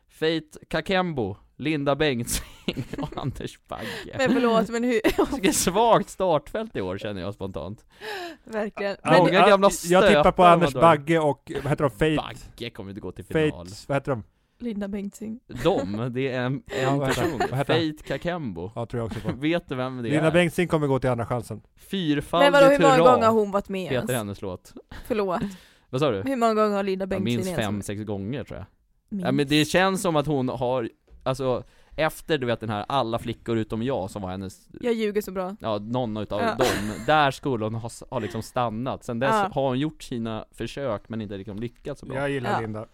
[SPEAKER 2] Fate Kakembo, Linda Bengtzing <laughs> och Anders Bagge.
[SPEAKER 3] Men förlåt, men
[SPEAKER 2] <laughs>
[SPEAKER 3] hur...
[SPEAKER 2] Vilket svagt startfält i år känner jag spontant.
[SPEAKER 3] Verkligen.
[SPEAKER 2] Ja,
[SPEAKER 3] Men,
[SPEAKER 2] Många gamla
[SPEAKER 1] jag tippar på
[SPEAKER 2] stötar man
[SPEAKER 1] Anders
[SPEAKER 2] drar.
[SPEAKER 1] Bagge och, vad heter de? Fate?
[SPEAKER 2] Bagge kommer inte gå till final.
[SPEAKER 1] Fate, vad heter de?
[SPEAKER 3] Linda Bengtzing.
[SPEAKER 2] De, det är en,
[SPEAKER 1] Ja,
[SPEAKER 2] en
[SPEAKER 1] vad heter han?
[SPEAKER 2] person.
[SPEAKER 1] Vad heter han?
[SPEAKER 2] Fate Kakembo.
[SPEAKER 1] Ja, tror jag också på.
[SPEAKER 2] Vet du vem <laughs> det
[SPEAKER 1] Lina
[SPEAKER 2] är?
[SPEAKER 1] Bengtzing kommer gå till andra chansen.
[SPEAKER 2] Fyrfaldig
[SPEAKER 3] Men vadå, hur många
[SPEAKER 2] hurra
[SPEAKER 3] gånger har hon varit med
[SPEAKER 2] heter
[SPEAKER 3] ens?
[SPEAKER 2] hennes låt. <laughs>
[SPEAKER 3] Förlåt.
[SPEAKER 2] Vad sa du?
[SPEAKER 3] Hur många gånger har Linda
[SPEAKER 2] Jag
[SPEAKER 3] Bengtzing
[SPEAKER 2] minns
[SPEAKER 3] ens-
[SPEAKER 2] fem, sex gånger tror jag.
[SPEAKER 3] Minst.
[SPEAKER 2] Ja, men det känns som att hon har, alltså efter du vet den här alla flickor utom jag som var hennes,
[SPEAKER 3] Jag ljuger så bra.
[SPEAKER 2] ja någon utav
[SPEAKER 3] Ja.
[SPEAKER 2] dem, där skulle hon ha, ha liksom stannat. Sen dess
[SPEAKER 3] Ja.
[SPEAKER 2] har hon gjort sina försök men inte liksom lyckats så bra.
[SPEAKER 1] Jag gillar
[SPEAKER 3] Ja.
[SPEAKER 1] Linda.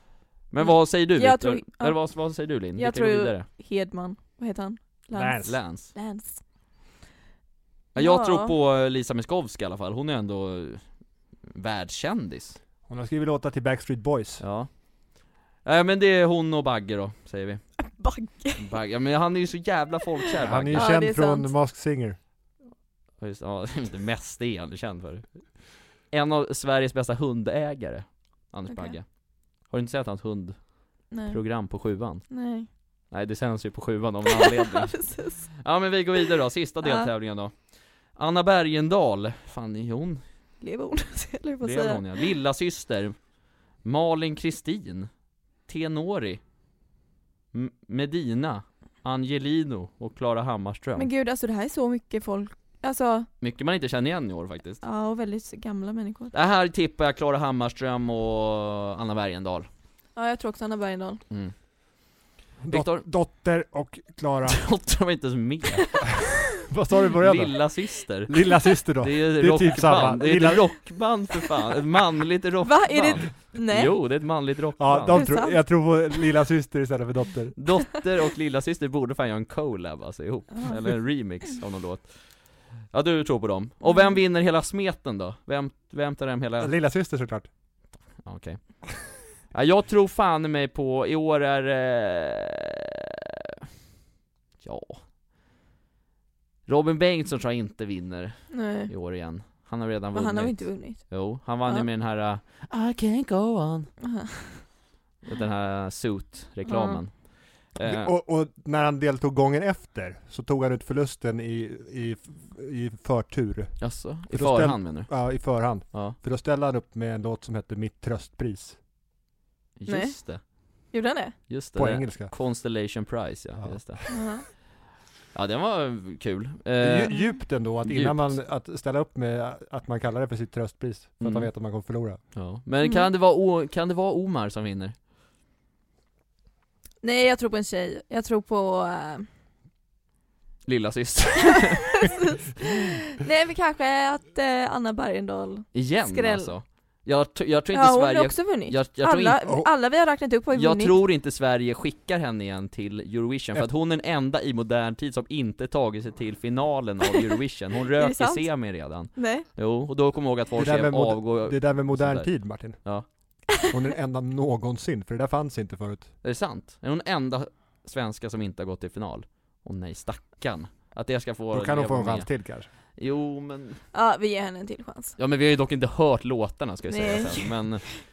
[SPEAKER 2] Men vad säger du
[SPEAKER 3] Jag
[SPEAKER 2] Viktor?
[SPEAKER 3] tror- ja.
[SPEAKER 2] Eller vad, vad säger du Linn?
[SPEAKER 3] Jag
[SPEAKER 2] Vi kan gå
[SPEAKER 3] tror-
[SPEAKER 2] vidare.
[SPEAKER 3] Hedman, vad heter han?
[SPEAKER 1] Lance.
[SPEAKER 2] Lance.
[SPEAKER 3] Lance.
[SPEAKER 2] Ja, jag
[SPEAKER 3] Ja.
[SPEAKER 2] tror på Lisa Miskovsky i alla fall, hon är ändå eh, världskändis.
[SPEAKER 1] Hon har skrivit låtar till Backstreet Boys.
[SPEAKER 2] Ja. Nej men det är hon och Bagge då, säger vi.
[SPEAKER 3] Bagge.
[SPEAKER 2] Bagge, ja, men han är ju så jävla folkkär
[SPEAKER 1] Han är
[SPEAKER 2] Bagge.
[SPEAKER 1] ju
[SPEAKER 3] Ja,
[SPEAKER 1] känd
[SPEAKER 3] det är
[SPEAKER 1] från
[SPEAKER 3] sant.
[SPEAKER 1] Masked Singer.
[SPEAKER 2] Ja, Just, ja, <laughs> det mest är han känd för. En av Sveriges bästa hundägare, Anders
[SPEAKER 3] Okej.
[SPEAKER 2] Bagge. Har du inte sett hans hundprogram
[SPEAKER 3] Nej.
[SPEAKER 2] på sjuan?
[SPEAKER 3] Nej.
[SPEAKER 2] Nej, det sänds ju på sjuan av en anledning.
[SPEAKER 3] <laughs> Precis.
[SPEAKER 2] ja men vi går vidare då, sista
[SPEAKER 3] Ja.
[SPEAKER 2] deltävlingen då. Anna Bergendahl, fan är hon?
[SPEAKER 3] Lever hon? <laughs> Eller vad
[SPEAKER 2] Det är
[SPEAKER 3] säger
[SPEAKER 2] hon
[SPEAKER 3] jag?
[SPEAKER 2] ja. Lilla syster Malin Kristin, Tenori, M- Medina, Angelino och Klara Hammarström.
[SPEAKER 3] Men gud, alltså det här är så mycket folk. Alltså,
[SPEAKER 2] Mycket man inte känner igen i år faktiskt.
[SPEAKER 3] ja, och väldigt gamla människor.
[SPEAKER 2] Det här tippar jag Klara Hammarström och Anna Bergendahl.
[SPEAKER 3] Ja, jag tror också Anna Bergendahl.
[SPEAKER 2] Mm. Viktor?
[SPEAKER 1] Dot- dotter och
[SPEAKER 2] <laughs>
[SPEAKER 1] Klara.
[SPEAKER 2] Dotter var inte
[SPEAKER 1] <laughs>
[SPEAKER 2] ens med.
[SPEAKER 1] Vad sa du i början då?
[SPEAKER 2] Lilla syster.
[SPEAKER 1] Lilla syster då?
[SPEAKER 2] Det är,
[SPEAKER 1] är typ
[SPEAKER 2] rockband.
[SPEAKER 1] samma.
[SPEAKER 2] Det är
[SPEAKER 1] Lilla-
[SPEAKER 2] ett rockband för fan. Ett manligt rockband.
[SPEAKER 3] Va? Är det... Nej.
[SPEAKER 2] Jo, det är ett manligt rockband.
[SPEAKER 1] Ja, de
[SPEAKER 3] det
[SPEAKER 1] tror,
[SPEAKER 3] sant?
[SPEAKER 1] jag tror på lilla syster istället för dotter.
[SPEAKER 2] Dotter och lilla syster borde fan göra en collab alltså ihop.
[SPEAKER 3] Ah.
[SPEAKER 2] Eller en remix av någon låt. Ja, du tror på dem. Och vem vinner hela smeten då? Vem, vem tar hem hela...
[SPEAKER 1] Lilla syster såklart.
[SPEAKER 2] Ja, Okej. Ja, jag tror fan i mig på, i år är eh, Ja. Robin Bengtsson tror jag inte vinner
[SPEAKER 3] Nej.
[SPEAKER 2] i år igen. Han har redan
[SPEAKER 3] Men
[SPEAKER 2] vunnit.
[SPEAKER 3] han har väl inte vunnit?
[SPEAKER 2] Jo, han vann ju
[SPEAKER 3] Ja.
[SPEAKER 2] med den här eh, I can't go on.
[SPEAKER 3] Aha.
[SPEAKER 2] Den här suit-reklamen. Eh,
[SPEAKER 1] Och, och när han deltog gången efter så tog han ut förlusten i, i, i förtur.
[SPEAKER 2] jaså, i
[SPEAKER 1] För då ställ-
[SPEAKER 2] förhand menar du?
[SPEAKER 1] Ja, i förhand.
[SPEAKER 2] Ja,
[SPEAKER 1] För då ställde han upp med en låt som hette Mitt tröstpris.
[SPEAKER 3] Nej.
[SPEAKER 2] just det.
[SPEAKER 3] Gjorde
[SPEAKER 2] <laughs>
[SPEAKER 3] han det?
[SPEAKER 2] Just det.
[SPEAKER 1] På
[SPEAKER 2] det.
[SPEAKER 1] engelska.
[SPEAKER 2] Constellation Prize, ja,
[SPEAKER 1] Ja.
[SPEAKER 2] Just det.
[SPEAKER 3] Aha.
[SPEAKER 2] Ja, den var eh, kul.
[SPEAKER 1] Det är
[SPEAKER 2] Eh,
[SPEAKER 1] ju djupt ändå att innan man, att ställa upp med att man kallar det för sitt tröstpris. För att
[SPEAKER 2] Mm.
[SPEAKER 1] man vet att man kommer förlora.
[SPEAKER 2] ja. Men
[SPEAKER 3] Mm.
[SPEAKER 2] kan det, vara o- kan det vara Omar som vinner?
[SPEAKER 3] Nej, jag tror på en tjej. Jag tror på... eh,
[SPEAKER 2] Lilla syster
[SPEAKER 3] Precis. Nej men kanske att eh, Anna Bergendahl
[SPEAKER 2] Igen
[SPEAKER 3] Skräll.
[SPEAKER 2] alltså. Jag, tr- jag tror inte
[SPEAKER 3] Ja hon
[SPEAKER 2] Sverige...
[SPEAKER 3] har också vunnit
[SPEAKER 2] Jag, jag, tror
[SPEAKER 3] alla,
[SPEAKER 2] inte,
[SPEAKER 1] Oh.
[SPEAKER 3] alla vi har räknat upp har ju
[SPEAKER 2] jag
[SPEAKER 3] vunnit
[SPEAKER 2] tror inte Sverige skickar henne igen till Eurovision, för att hon är den enda i modern tid som inte tagit sig till
[SPEAKER 3] <laughs>
[SPEAKER 2] finalen av Eurovision. Hon
[SPEAKER 3] det
[SPEAKER 2] rök i
[SPEAKER 3] sant?
[SPEAKER 2] semin redan.
[SPEAKER 3] Nej
[SPEAKER 2] Jo, och då kommer jag ihåg att folk
[SPEAKER 1] Det där
[SPEAKER 2] skrev
[SPEAKER 1] med mod-
[SPEAKER 2] avgå...
[SPEAKER 1] Det där med modern
[SPEAKER 2] Sådär.
[SPEAKER 1] tid Martin.
[SPEAKER 2] Ja.
[SPEAKER 1] Hon är den enda någonsin, för det där fanns inte förut.
[SPEAKER 2] Är det sant? Är hon den enda svenska som inte har gått till final? Åh nej, stackarn. Att det ska få...
[SPEAKER 1] Då kan hon få
[SPEAKER 2] leva
[SPEAKER 1] en
[SPEAKER 2] med.
[SPEAKER 1] chans till kanske.
[SPEAKER 2] Jo men...
[SPEAKER 3] Ja vi ger henne en till chans
[SPEAKER 2] Ja men vi har ju dock inte hört låtarna ska jag säga
[SPEAKER 3] Nej.
[SPEAKER 2] sen, men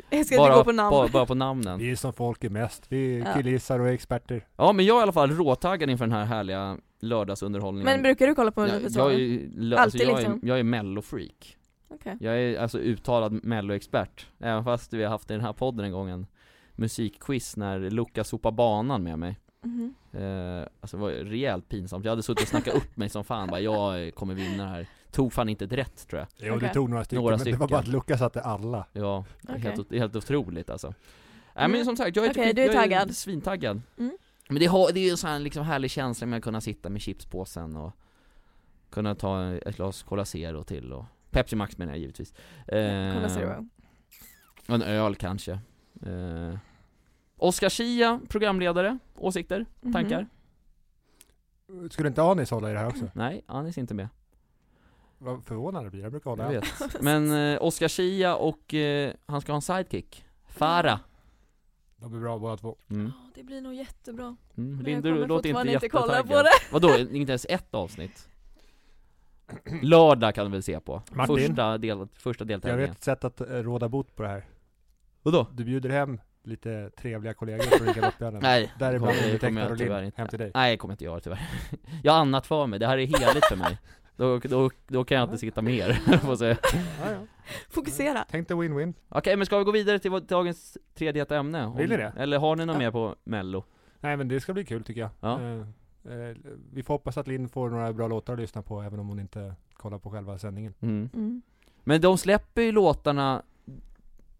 [SPEAKER 3] Jag ska inte
[SPEAKER 2] bara,
[SPEAKER 3] gå på namn
[SPEAKER 2] bara, bara på namnen.
[SPEAKER 1] Vi är som folk är mest, vi är
[SPEAKER 3] Ja.
[SPEAKER 1] killgissar och är experter.
[SPEAKER 2] Ja men jag är i alla fall råtaggad inför den här härliga lördagsunderhållningen
[SPEAKER 3] Men brukar du kolla på
[SPEAKER 2] jag, jag är
[SPEAKER 3] Melodifestivalen?
[SPEAKER 2] ju, lö- alltså,
[SPEAKER 3] Alltid
[SPEAKER 2] jag är,
[SPEAKER 3] liksom.
[SPEAKER 2] jag är mellofreak
[SPEAKER 3] Okej.
[SPEAKER 2] Jag är alltså uttalad melloexpert Även fast vi har haft i den här podden en gång en musikquiz när Luca sopade banan med mig
[SPEAKER 3] Mhm.
[SPEAKER 2] eh, Alltså det var ju rejält pinsamt, jag hade suttit och snackat upp mig som fan bara jag kommer vinna det här Tog fan inte ett rätt tror jag
[SPEAKER 1] Jo det
[SPEAKER 3] Okej.
[SPEAKER 1] tog några stycken,
[SPEAKER 2] Några
[SPEAKER 1] men det var
[SPEAKER 2] stycken.
[SPEAKER 1] bara att Lukas satte alla.
[SPEAKER 2] Ja,
[SPEAKER 3] Okej.
[SPEAKER 2] helt, o- helt otroligt alltså. Nej
[SPEAKER 3] Mm.
[SPEAKER 2] men som sagt, jag är,
[SPEAKER 3] Okej,
[SPEAKER 2] skit-
[SPEAKER 3] du är
[SPEAKER 2] jag
[SPEAKER 3] taggad.
[SPEAKER 2] svintaggad.
[SPEAKER 3] Mm.
[SPEAKER 2] Men det, har, det är ju en sån här liksom härlig känsla med att kunna sitta med chipspåsen och kunna ta ett glas Cola Zero till och Pepsi Max menar jag givetvis. Eh,
[SPEAKER 3] Kolla Zero
[SPEAKER 2] En öl kanske. Eh, Oscar Schia, programledare, åsikter,
[SPEAKER 3] Mhm.
[SPEAKER 2] tankar?
[SPEAKER 3] <laughs>
[SPEAKER 1] Skulle inte Anis hålla i det här också?
[SPEAKER 2] Nej, Anis är inte med.
[SPEAKER 1] Vad förvånande det blir, jag brukar
[SPEAKER 2] Jag
[SPEAKER 1] hålla.
[SPEAKER 2] vet. Men eh, Oscar Schia och eh, han ska ha en sidekick. Farah.
[SPEAKER 1] De är bra båda två.
[SPEAKER 2] Mm.
[SPEAKER 3] Ja, Det blir nog jättebra
[SPEAKER 2] Mm.
[SPEAKER 3] Men jag
[SPEAKER 2] Lindu
[SPEAKER 3] kommer
[SPEAKER 2] låter inte
[SPEAKER 3] fortfarande inte kolla
[SPEAKER 2] jättetaggad.
[SPEAKER 3] på det. <laughs>
[SPEAKER 2] Vadå, inte ens ett avsnitt? Lördag kan du väl se på?
[SPEAKER 1] Martin?
[SPEAKER 2] Första, del, första
[SPEAKER 1] Jag
[SPEAKER 2] deltävlingen.
[SPEAKER 1] vet ett sätt att eh, råda bot på det här.
[SPEAKER 2] Vadå?
[SPEAKER 1] Du bjuder hem lite trevliga kollegor från Rikardoppianen.
[SPEAKER 2] <laughs> Nej,
[SPEAKER 1] Däribland
[SPEAKER 2] kommer- det kommer
[SPEAKER 1] undertecknad
[SPEAKER 2] jag
[SPEAKER 1] och
[SPEAKER 2] tyvärr
[SPEAKER 1] Lind,
[SPEAKER 2] inte.
[SPEAKER 1] hem
[SPEAKER 2] <laughs>
[SPEAKER 1] till dig.
[SPEAKER 2] Nej, det kommer inte jag tyvärr. Jag har annat för mig, det här är heligt för mig. Då, då, då kan jag inte sitta mer, <laughs> får jag säga.
[SPEAKER 1] Ja, ja.
[SPEAKER 3] Fokusera.
[SPEAKER 1] Tänk dig win-win.
[SPEAKER 2] Okej, men ska vi gå vidare till vårt- dagens tredje heta ämne? Om-
[SPEAKER 1] Vill ni det?
[SPEAKER 2] Eller har ni något
[SPEAKER 3] Ja.
[SPEAKER 2] mer på mello?
[SPEAKER 1] Nej men det ska bli kul tycker jag.
[SPEAKER 2] Ja.
[SPEAKER 1] Eh, eh, vi får hoppas att Linn får några bra låtar att lyssna på även om hon inte kollar på själva sändningen.
[SPEAKER 2] Mm.
[SPEAKER 3] Mm.
[SPEAKER 2] Men de släpper ju låtarna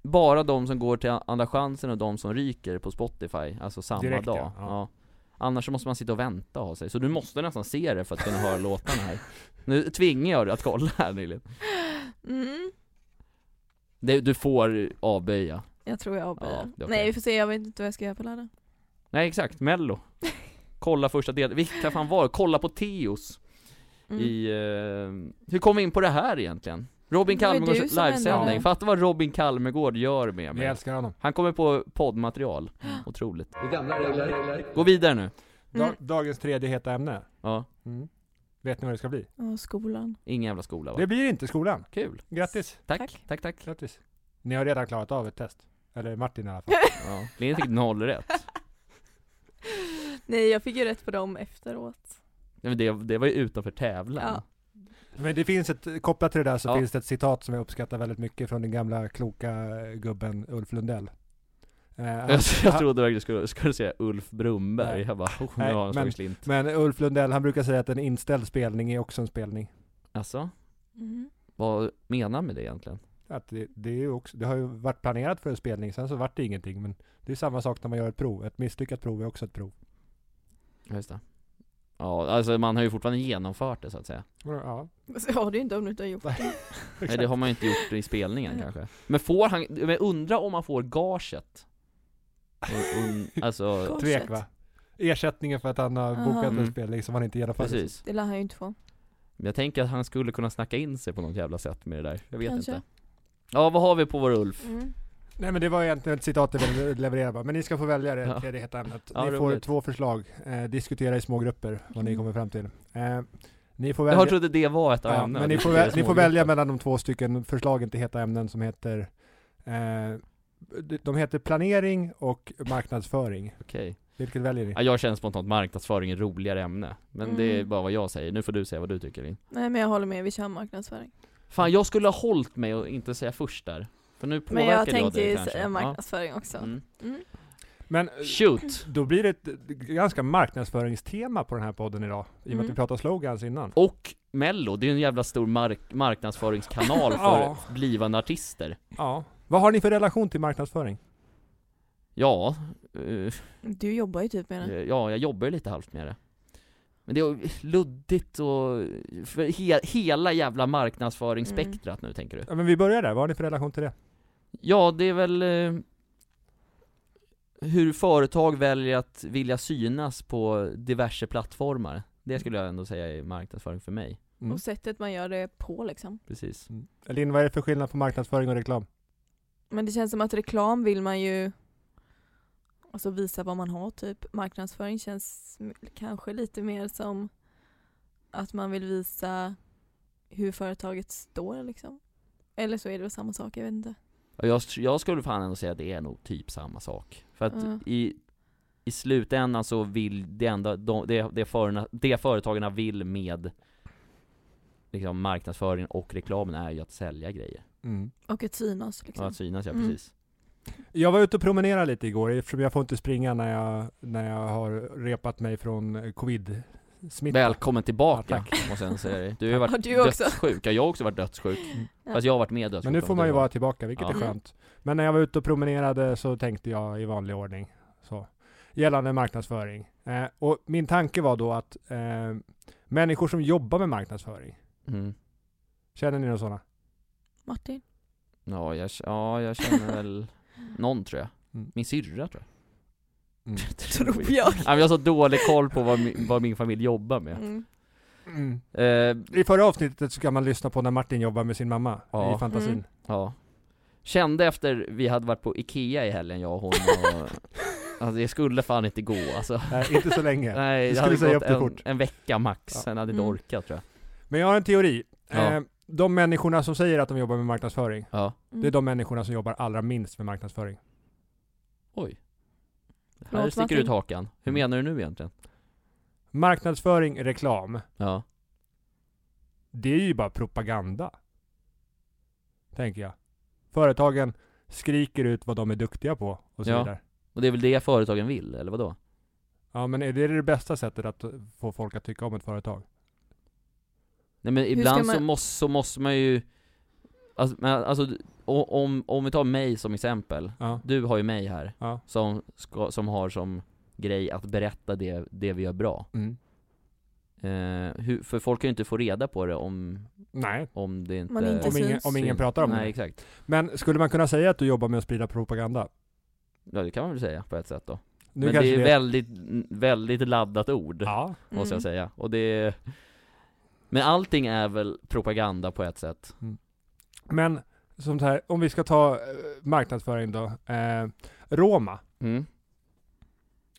[SPEAKER 2] bara de som går till Andra chansen och de som ryker på Spotify, alltså samma
[SPEAKER 1] Direkt,
[SPEAKER 2] dag.
[SPEAKER 1] ja. Ja.
[SPEAKER 2] Annars så måste man sitta och vänta och ha sig, så du måste nästan se det för att kunna höra låtarna
[SPEAKER 1] <laughs>
[SPEAKER 2] här. Nu tvingar jag dig att kolla här Nilin.
[SPEAKER 3] Mm.
[SPEAKER 2] Det- Du får avböja.
[SPEAKER 3] Jag tror jag avböjer.
[SPEAKER 2] Ja, det är okej.
[SPEAKER 3] Nej vi får se, jag vet inte vad jag ska göra på lördag.
[SPEAKER 2] Nej exakt, mello. Kolla första delen, vilka fan var det? Kolla på Teos
[SPEAKER 3] Mm.
[SPEAKER 2] i... Eh, hur kom vi in på det här egentligen? Robin
[SPEAKER 3] Det var ju
[SPEAKER 2] Kalmegårds
[SPEAKER 3] du som
[SPEAKER 2] livesändning,
[SPEAKER 3] ändrade.
[SPEAKER 2] fatta vad Robin Kalmegård gör med
[SPEAKER 1] Vi
[SPEAKER 2] mig.
[SPEAKER 1] älskar honom.
[SPEAKER 2] Han kommer på poddmaterial, <gasps> otroligt.
[SPEAKER 4] Gamla regler.
[SPEAKER 2] Gå vidare nu.
[SPEAKER 1] Da-
[SPEAKER 3] Mm.
[SPEAKER 1] Dagens tredje heta ämne.
[SPEAKER 2] Ja,
[SPEAKER 1] Mm. Vet ni vad det ska bli?
[SPEAKER 3] Ja, skolan. <laughs>
[SPEAKER 2] ingen jävla skola va?
[SPEAKER 1] Det blir inte skolan.
[SPEAKER 2] Kul.
[SPEAKER 1] Grattis!
[SPEAKER 2] Tack, tack,
[SPEAKER 3] Tack.
[SPEAKER 2] tack.
[SPEAKER 1] Grattis! Ni har redan klarat av ett test. Eller Martin i alla fall.
[SPEAKER 2] Ja. Linn fick noll rätt.
[SPEAKER 3] Nej jag fick ju rätt på dem efteråt.
[SPEAKER 2] Nej, men det, det var ju utanför tävlan.
[SPEAKER 3] Ja.
[SPEAKER 1] <laughs> Men det finns ett, kopplat till det där så
[SPEAKER 2] Ja.
[SPEAKER 1] finns det ett citat som jag uppskattar väldigt mycket från den gamla kloka eh, gubben Ulf <laughs> Lundell. Eh, han-
[SPEAKER 2] Jag, <laughs> jag trodde verkligen du skulle, skulle säga Ulf Brumberg,
[SPEAKER 1] Nej.
[SPEAKER 2] jag bara oh, nu
[SPEAKER 1] Nej,
[SPEAKER 2] har han slagit
[SPEAKER 1] men-
[SPEAKER 2] slint.
[SPEAKER 1] Men Ulf Lundell, han brukar säga att en inställd spelning är också en spelning.
[SPEAKER 2] Alltså,
[SPEAKER 3] Mm.
[SPEAKER 2] vad menar han med det egentligen?
[SPEAKER 1] Att det, det, är ju också, det har ju varit planerat för en spelning, sen så vart det ingenting. Men det är samma sak när man gör ett prov. Ett misslyckat prov är också ett prov.
[SPEAKER 2] Ja, just det. Ja, alltså man har ju fortfarande genomfört det så att säga.
[SPEAKER 1] <laughs> Ja,
[SPEAKER 3] Så har du inte om du inte har gjort det.
[SPEAKER 2] Nej det har man ju inte gjort i spelningen
[SPEAKER 3] Nej.
[SPEAKER 2] kanske. Men får han, men undra om han får gaget? Och- och- alltså,
[SPEAKER 3] Gaget.
[SPEAKER 1] tvek va? Ersättningen för att han har
[SPEAKER 3] Oh, Aha.
[SPEAKER 1] bokat en
[SPEAKER 2] Mm.
[SPEAKER 1] spelning som han inte genomförde.
[SPEAKER 2] precis.
[SPEAKER 3] Det lär han ju inte få.
[SPEAKER 2] Men jag tänker att han skulle kunna snacka in sig på något jävla sätt med det där. Jag vet
[SPEAKER 3] Kanske.
[SPEAKER 2] inte. Ja, vad har vi på vår Ulf?
[SPEAKER 3] Mm.
[SPEAKER 1] Nej men det var egentligen ett citat jag ville leverera bara. Men ni ska få välja det
[SPEAKER 2] Ja.
[SPEAKER 1] tredje heta ämnet.
[SPEAKER 2] Ja,
[SPEAKER 1] ni får
[SPEAKER 2] roligt.
[SPEAKER 1] två förslag. Eh, diskutera i små grupper vad ni
[SPEAKER 3] Mm.
[SPEAKER 1] kommer fram till. Eh, ni får
[SPEAKER 2] Jag
[SPEAKER 1] välja,
[SPEAKER 2] har trodde det var ett av
[SPEAKER 1] ja,
[SPEAKER 2] ämnena.
[SPEAKER 1] men ni
[SPEAKER 2] Det
[SPEAKER 1] får,
[SPEAKER 2] är
[SPEAKER 1] väl, ni får
[SPEAKER 2] smågrupper.
[SPEAKER 1] välja mellan de två stycken förslagen till heta ämnen som heter eh, de heter planering och marknadsföring.
[SPEAKER 2] Okej.
[SPEAKER 1] Vilket väljer ni?
[SPEAKER 2] Ja, jag känner spontant marknadsföring är ett roligare ämne. Men
[SPEAKER 3] Mm.
[SPEAKER 2] det är bara vad jag säger. Nu får du säga vad du tycker Lin.
[SPEAKER 3] Nej men jag håller med, vi kör marknadsföring.
[SPEAKER 2] Fan, jag skulle ha hållit mig och inte säga först där. För nu
[SPEAKER 3] Men
[SPEAKER 2] påverkar
[SPEAKER 3] jag
[SPEAKER 2] jag
[SPEAKER 3] tänkte
[SPEAKER 2] dig
[SPEAKER 3] ju
[SPEAKER 2] kanske.
[SPEAKER 3] säga marknadsföring också.
[SPEAKER 2] Ja. Mm.
[SPEAKER 3] Mm.
[SPEAKER 1] Men eh,
[SPEAKER 2] Shoot!
[SPEAKER 1] då blir det ett eh, ganska marknadsföringstema på den här podden idag. I och med att vi
[SPEAKER 3] Mm.
[SPEAKER 1] pratar slogans innan.
[SPEAKER 2] Och Mello, det är ju en jävla stor mark- marknadsföringskanal för
[SPEAKER 1] Ja.
[SPEAKER 2] blivande artister.
[SPEAKER 1] Ja. Vad har ni för relation till marknadsföring?
[SPEAKER 2] Ja, eh,
[SPEAKER 3] Du jobbar ju typ med den.
[SPEAKER 2] ja, jag jobbar ju lite halvt med det. Men det är luddigt och... För he- hela jävla marknadsföringsspektrat nu tänker du?
[SPEAKER 1] Ja, men vi börjar där. Vad har ni för relation till det?
[SPEAKER 2] Ja, det är väl eh, hur företag väljer att vilja synas på diverse plattformar. Det skulle jag ändå säga är marknadsföring för mig.
[SPEAKER 1] Mm.
[SPEAKER 3] Och sättet man gör det på liksom.
[SPEAKER 2] Precis.
[SPEAKER 1] Linn, vad är det för skillnad på marknadsföring och reklam?
[SPEAKER 3] Men det känns som att reklam vill man ju alltså visa vad man har typ. Marknadsföring känns m- kanske lite mer som att man vill visa hur företaget står liksom. Eller så är det väl samma sak, jag vet inte.
[SPEAKER 2] Och jag, jag skulle fan ändå säga att det är nog typ samma sak. För att
[SPEAKER 3] Ja.
[SPEAKER 2] i, i slutändan så vill det enda, de, det, det, förna, det företagarna vill med liksom marknadsföringen och reklamen är ju att sälja grejer.
[SPEAKER 3] Och att synas
[SPEAKER 2] Och
[SPEAKER 3] liksom.
[SPEAKER 2] att synas, ja
[SPEAKER 3] Mm.
[SPEAKER 2] precis.
[SPEAKER 1] Jag var ute och promenerade lite igår eftersom jag får inte springa när jag, när jag har repat mig från eh, covid-smitta.
[SPEAKER 2] Välkommen tillbaka,
[SPEAKER 1] Ja,
[SPEAKER 2] måste jag ändå säga dig. Du har ju varit
[SPEAKER 3] Ja, du också. Mm.
[SPEAKER 2] dödssjuk, ja, jag har också varit dödssjuk. Fast jag har varit med dödssjuk.
[SPEAKER 1] Men nu
[SPEAKER 2] då,
[SPEAKER 1] får man ju
[SPEAKER 2] det var-
[SPEAKER 1] vara tillbaka, vilket
[SPEAKER 2] Ja.
[SPEAKER 1] är skönt. Men när jag var ute och promenerade så tänkte jag i vanlig ordning. Så. Gällande marknadsföring. Eh, och min tanke var då att eh, människor som jobbar med marknadsföring,
[SPEAKER 2] Mm.
[SPEAKER 1] känner ni några sådana?
[SPEAKER 2] <laughs>
[SPEAKER 3] Martin?
[SPEAKER 2] Ja, jag, ja, jag känner
[SPEAKER 3] <laughs>
[SPEAKER 2] väl någon tror jag.
[SPEAKER 1] Mm.
[SPEAKER 2] Min syrra tror jag.
[SPEAKER 1] Mm.
[SPEAKER 3] Tror jag.
[SPEAKER 2] Ja, men jag har så dålig koll på vad min, vad min familj jobbar med.
[SPEAKER 3] Mm.
[SPEAKER 1] Mm.
[SPEAKER 2] Eh,
[SPEAKER 1] I förra avsnittet så kan man lyssna på när Martin jobbar med sin mamma
[SPEAKER 2] Ja.
[SPEAKER 1] i fantasin.
[SPEAKER 3] Mm.
[SPEAKER 2] ja. Kände efter vi hade varit på Ikea i helgen, jag och
[SPEAKER 1] <laughs>
[SPEAKER 2] hon och... Alltså det skulle fan inte gå alltså.
[SPEAKER 1] Nej, inte så länge.
[SPEAKER 2] Nej,
[SPEAKER 1] du
[SPEAKER 2] det
[SPEAKER 1] skulle
[SPEAKER 2] hade
[SPEAKER 1] säga
[SPEAKER 2] gått
[SPEAKER 1] upp det
[SPEAKER 2] en,
[SPEAKER 1] fort.
[SPEAKER 2] en vecka max,
[SPEAKER 1] Ja.
[SPEAKER 2] sen hade det
[SPEAKER 3] Mm.
[SPEAKER 2] orkat tror jag.
[SPEAKER 1] Men jag har en teori.
[SPEAKER 2] Ja.
[SPEAKER 1] Eh, de människorna som
[SPEAKER 3] Mm.
[SPEAKER 1] säger att de jobbar med marknadsföring,
[SPEAKER 2] Ja.
[SPEAKER 1] det är de människorna som jobbar allra minst med marknadsföring.
[SPEAKER 2] Oj.
[SPEAKER 3] Förlåt,
[SPEAKER 2] här sticker
[SPEAKER 3] Martin.
[SPEAKER 2] ut hakan.
[SPEAKER 1] Mm.
[SPEAKER 2] Hur menar du nu egentligen?
[SPEAKER 1] Marknadsföring, reklam.
[SPEAKER 2] Ja.
[SPEAKER 1] Det är ju bara propaganda. Tänker jag. Företagen skriker ut vad de är duktiga på och så
[SPEAKER 2] Ja.
[SPEAKER 1] vidare.
[SPEAKER 2] Och det är väl det företagen vill, eller vadå?
[SPEAKER 1] Ja men är det det bästa sättet att få folk att tycka om ett företag?
[SPEAKER 2] Nej men
[SPEAKER 3] ska
[SPEAKER 2] ibland så,
[SPEAKER 3] man-
[SPEAKER 2] måste, så måste man ju Alltså, men, alltså o- om, om vi tar mig som exempel
[SPEAKER 1] Ja.
[SPEAKER 2] Du har ju mig här,
[SPEAKER 1] Ja.
[SPEAKER 2] som, ska, som har som grej att berätta det, det vi gör bra
[SPEAKER 1] Mm.
[SPEAKER 2] eh, hur, För folk kan ju inte få reda på det om,
[SPEAKER 1] Nej.
[SPEAKER 2] om det inte
[SPEAKER 3] Man inte
[SPEAKER 1] Om ingen,
[SPEAKER 3] syns.
[SPEAKER 1] om ingen pratar om
[SPEAKER 2] Nej
[SPEAKER 1] det.
[SPEAKER 2] exakt,
[SPEAKER 1] Men skulle man kunna säga att du jobbar med att sprida propaganda?
[SPEAKER 2] ja det kan man väl säga på ett sätt då
[SPEAKER 1] Nu
[SPEAKER 2] Men det är väldigt, väldigt laddat ord,
[SPEAKER 1] Ja,
[SPEAKER 2] måste
[SPEAKER 3] Mm.
[SPEAKER 2] jag säga, och det Men allting är väl propaganda på ett sätt
[SPEAKER 1] men som så här, om vi ska ta eh, marknadsföring då. Eh, Roma,
[SPEAKER 2] Mm.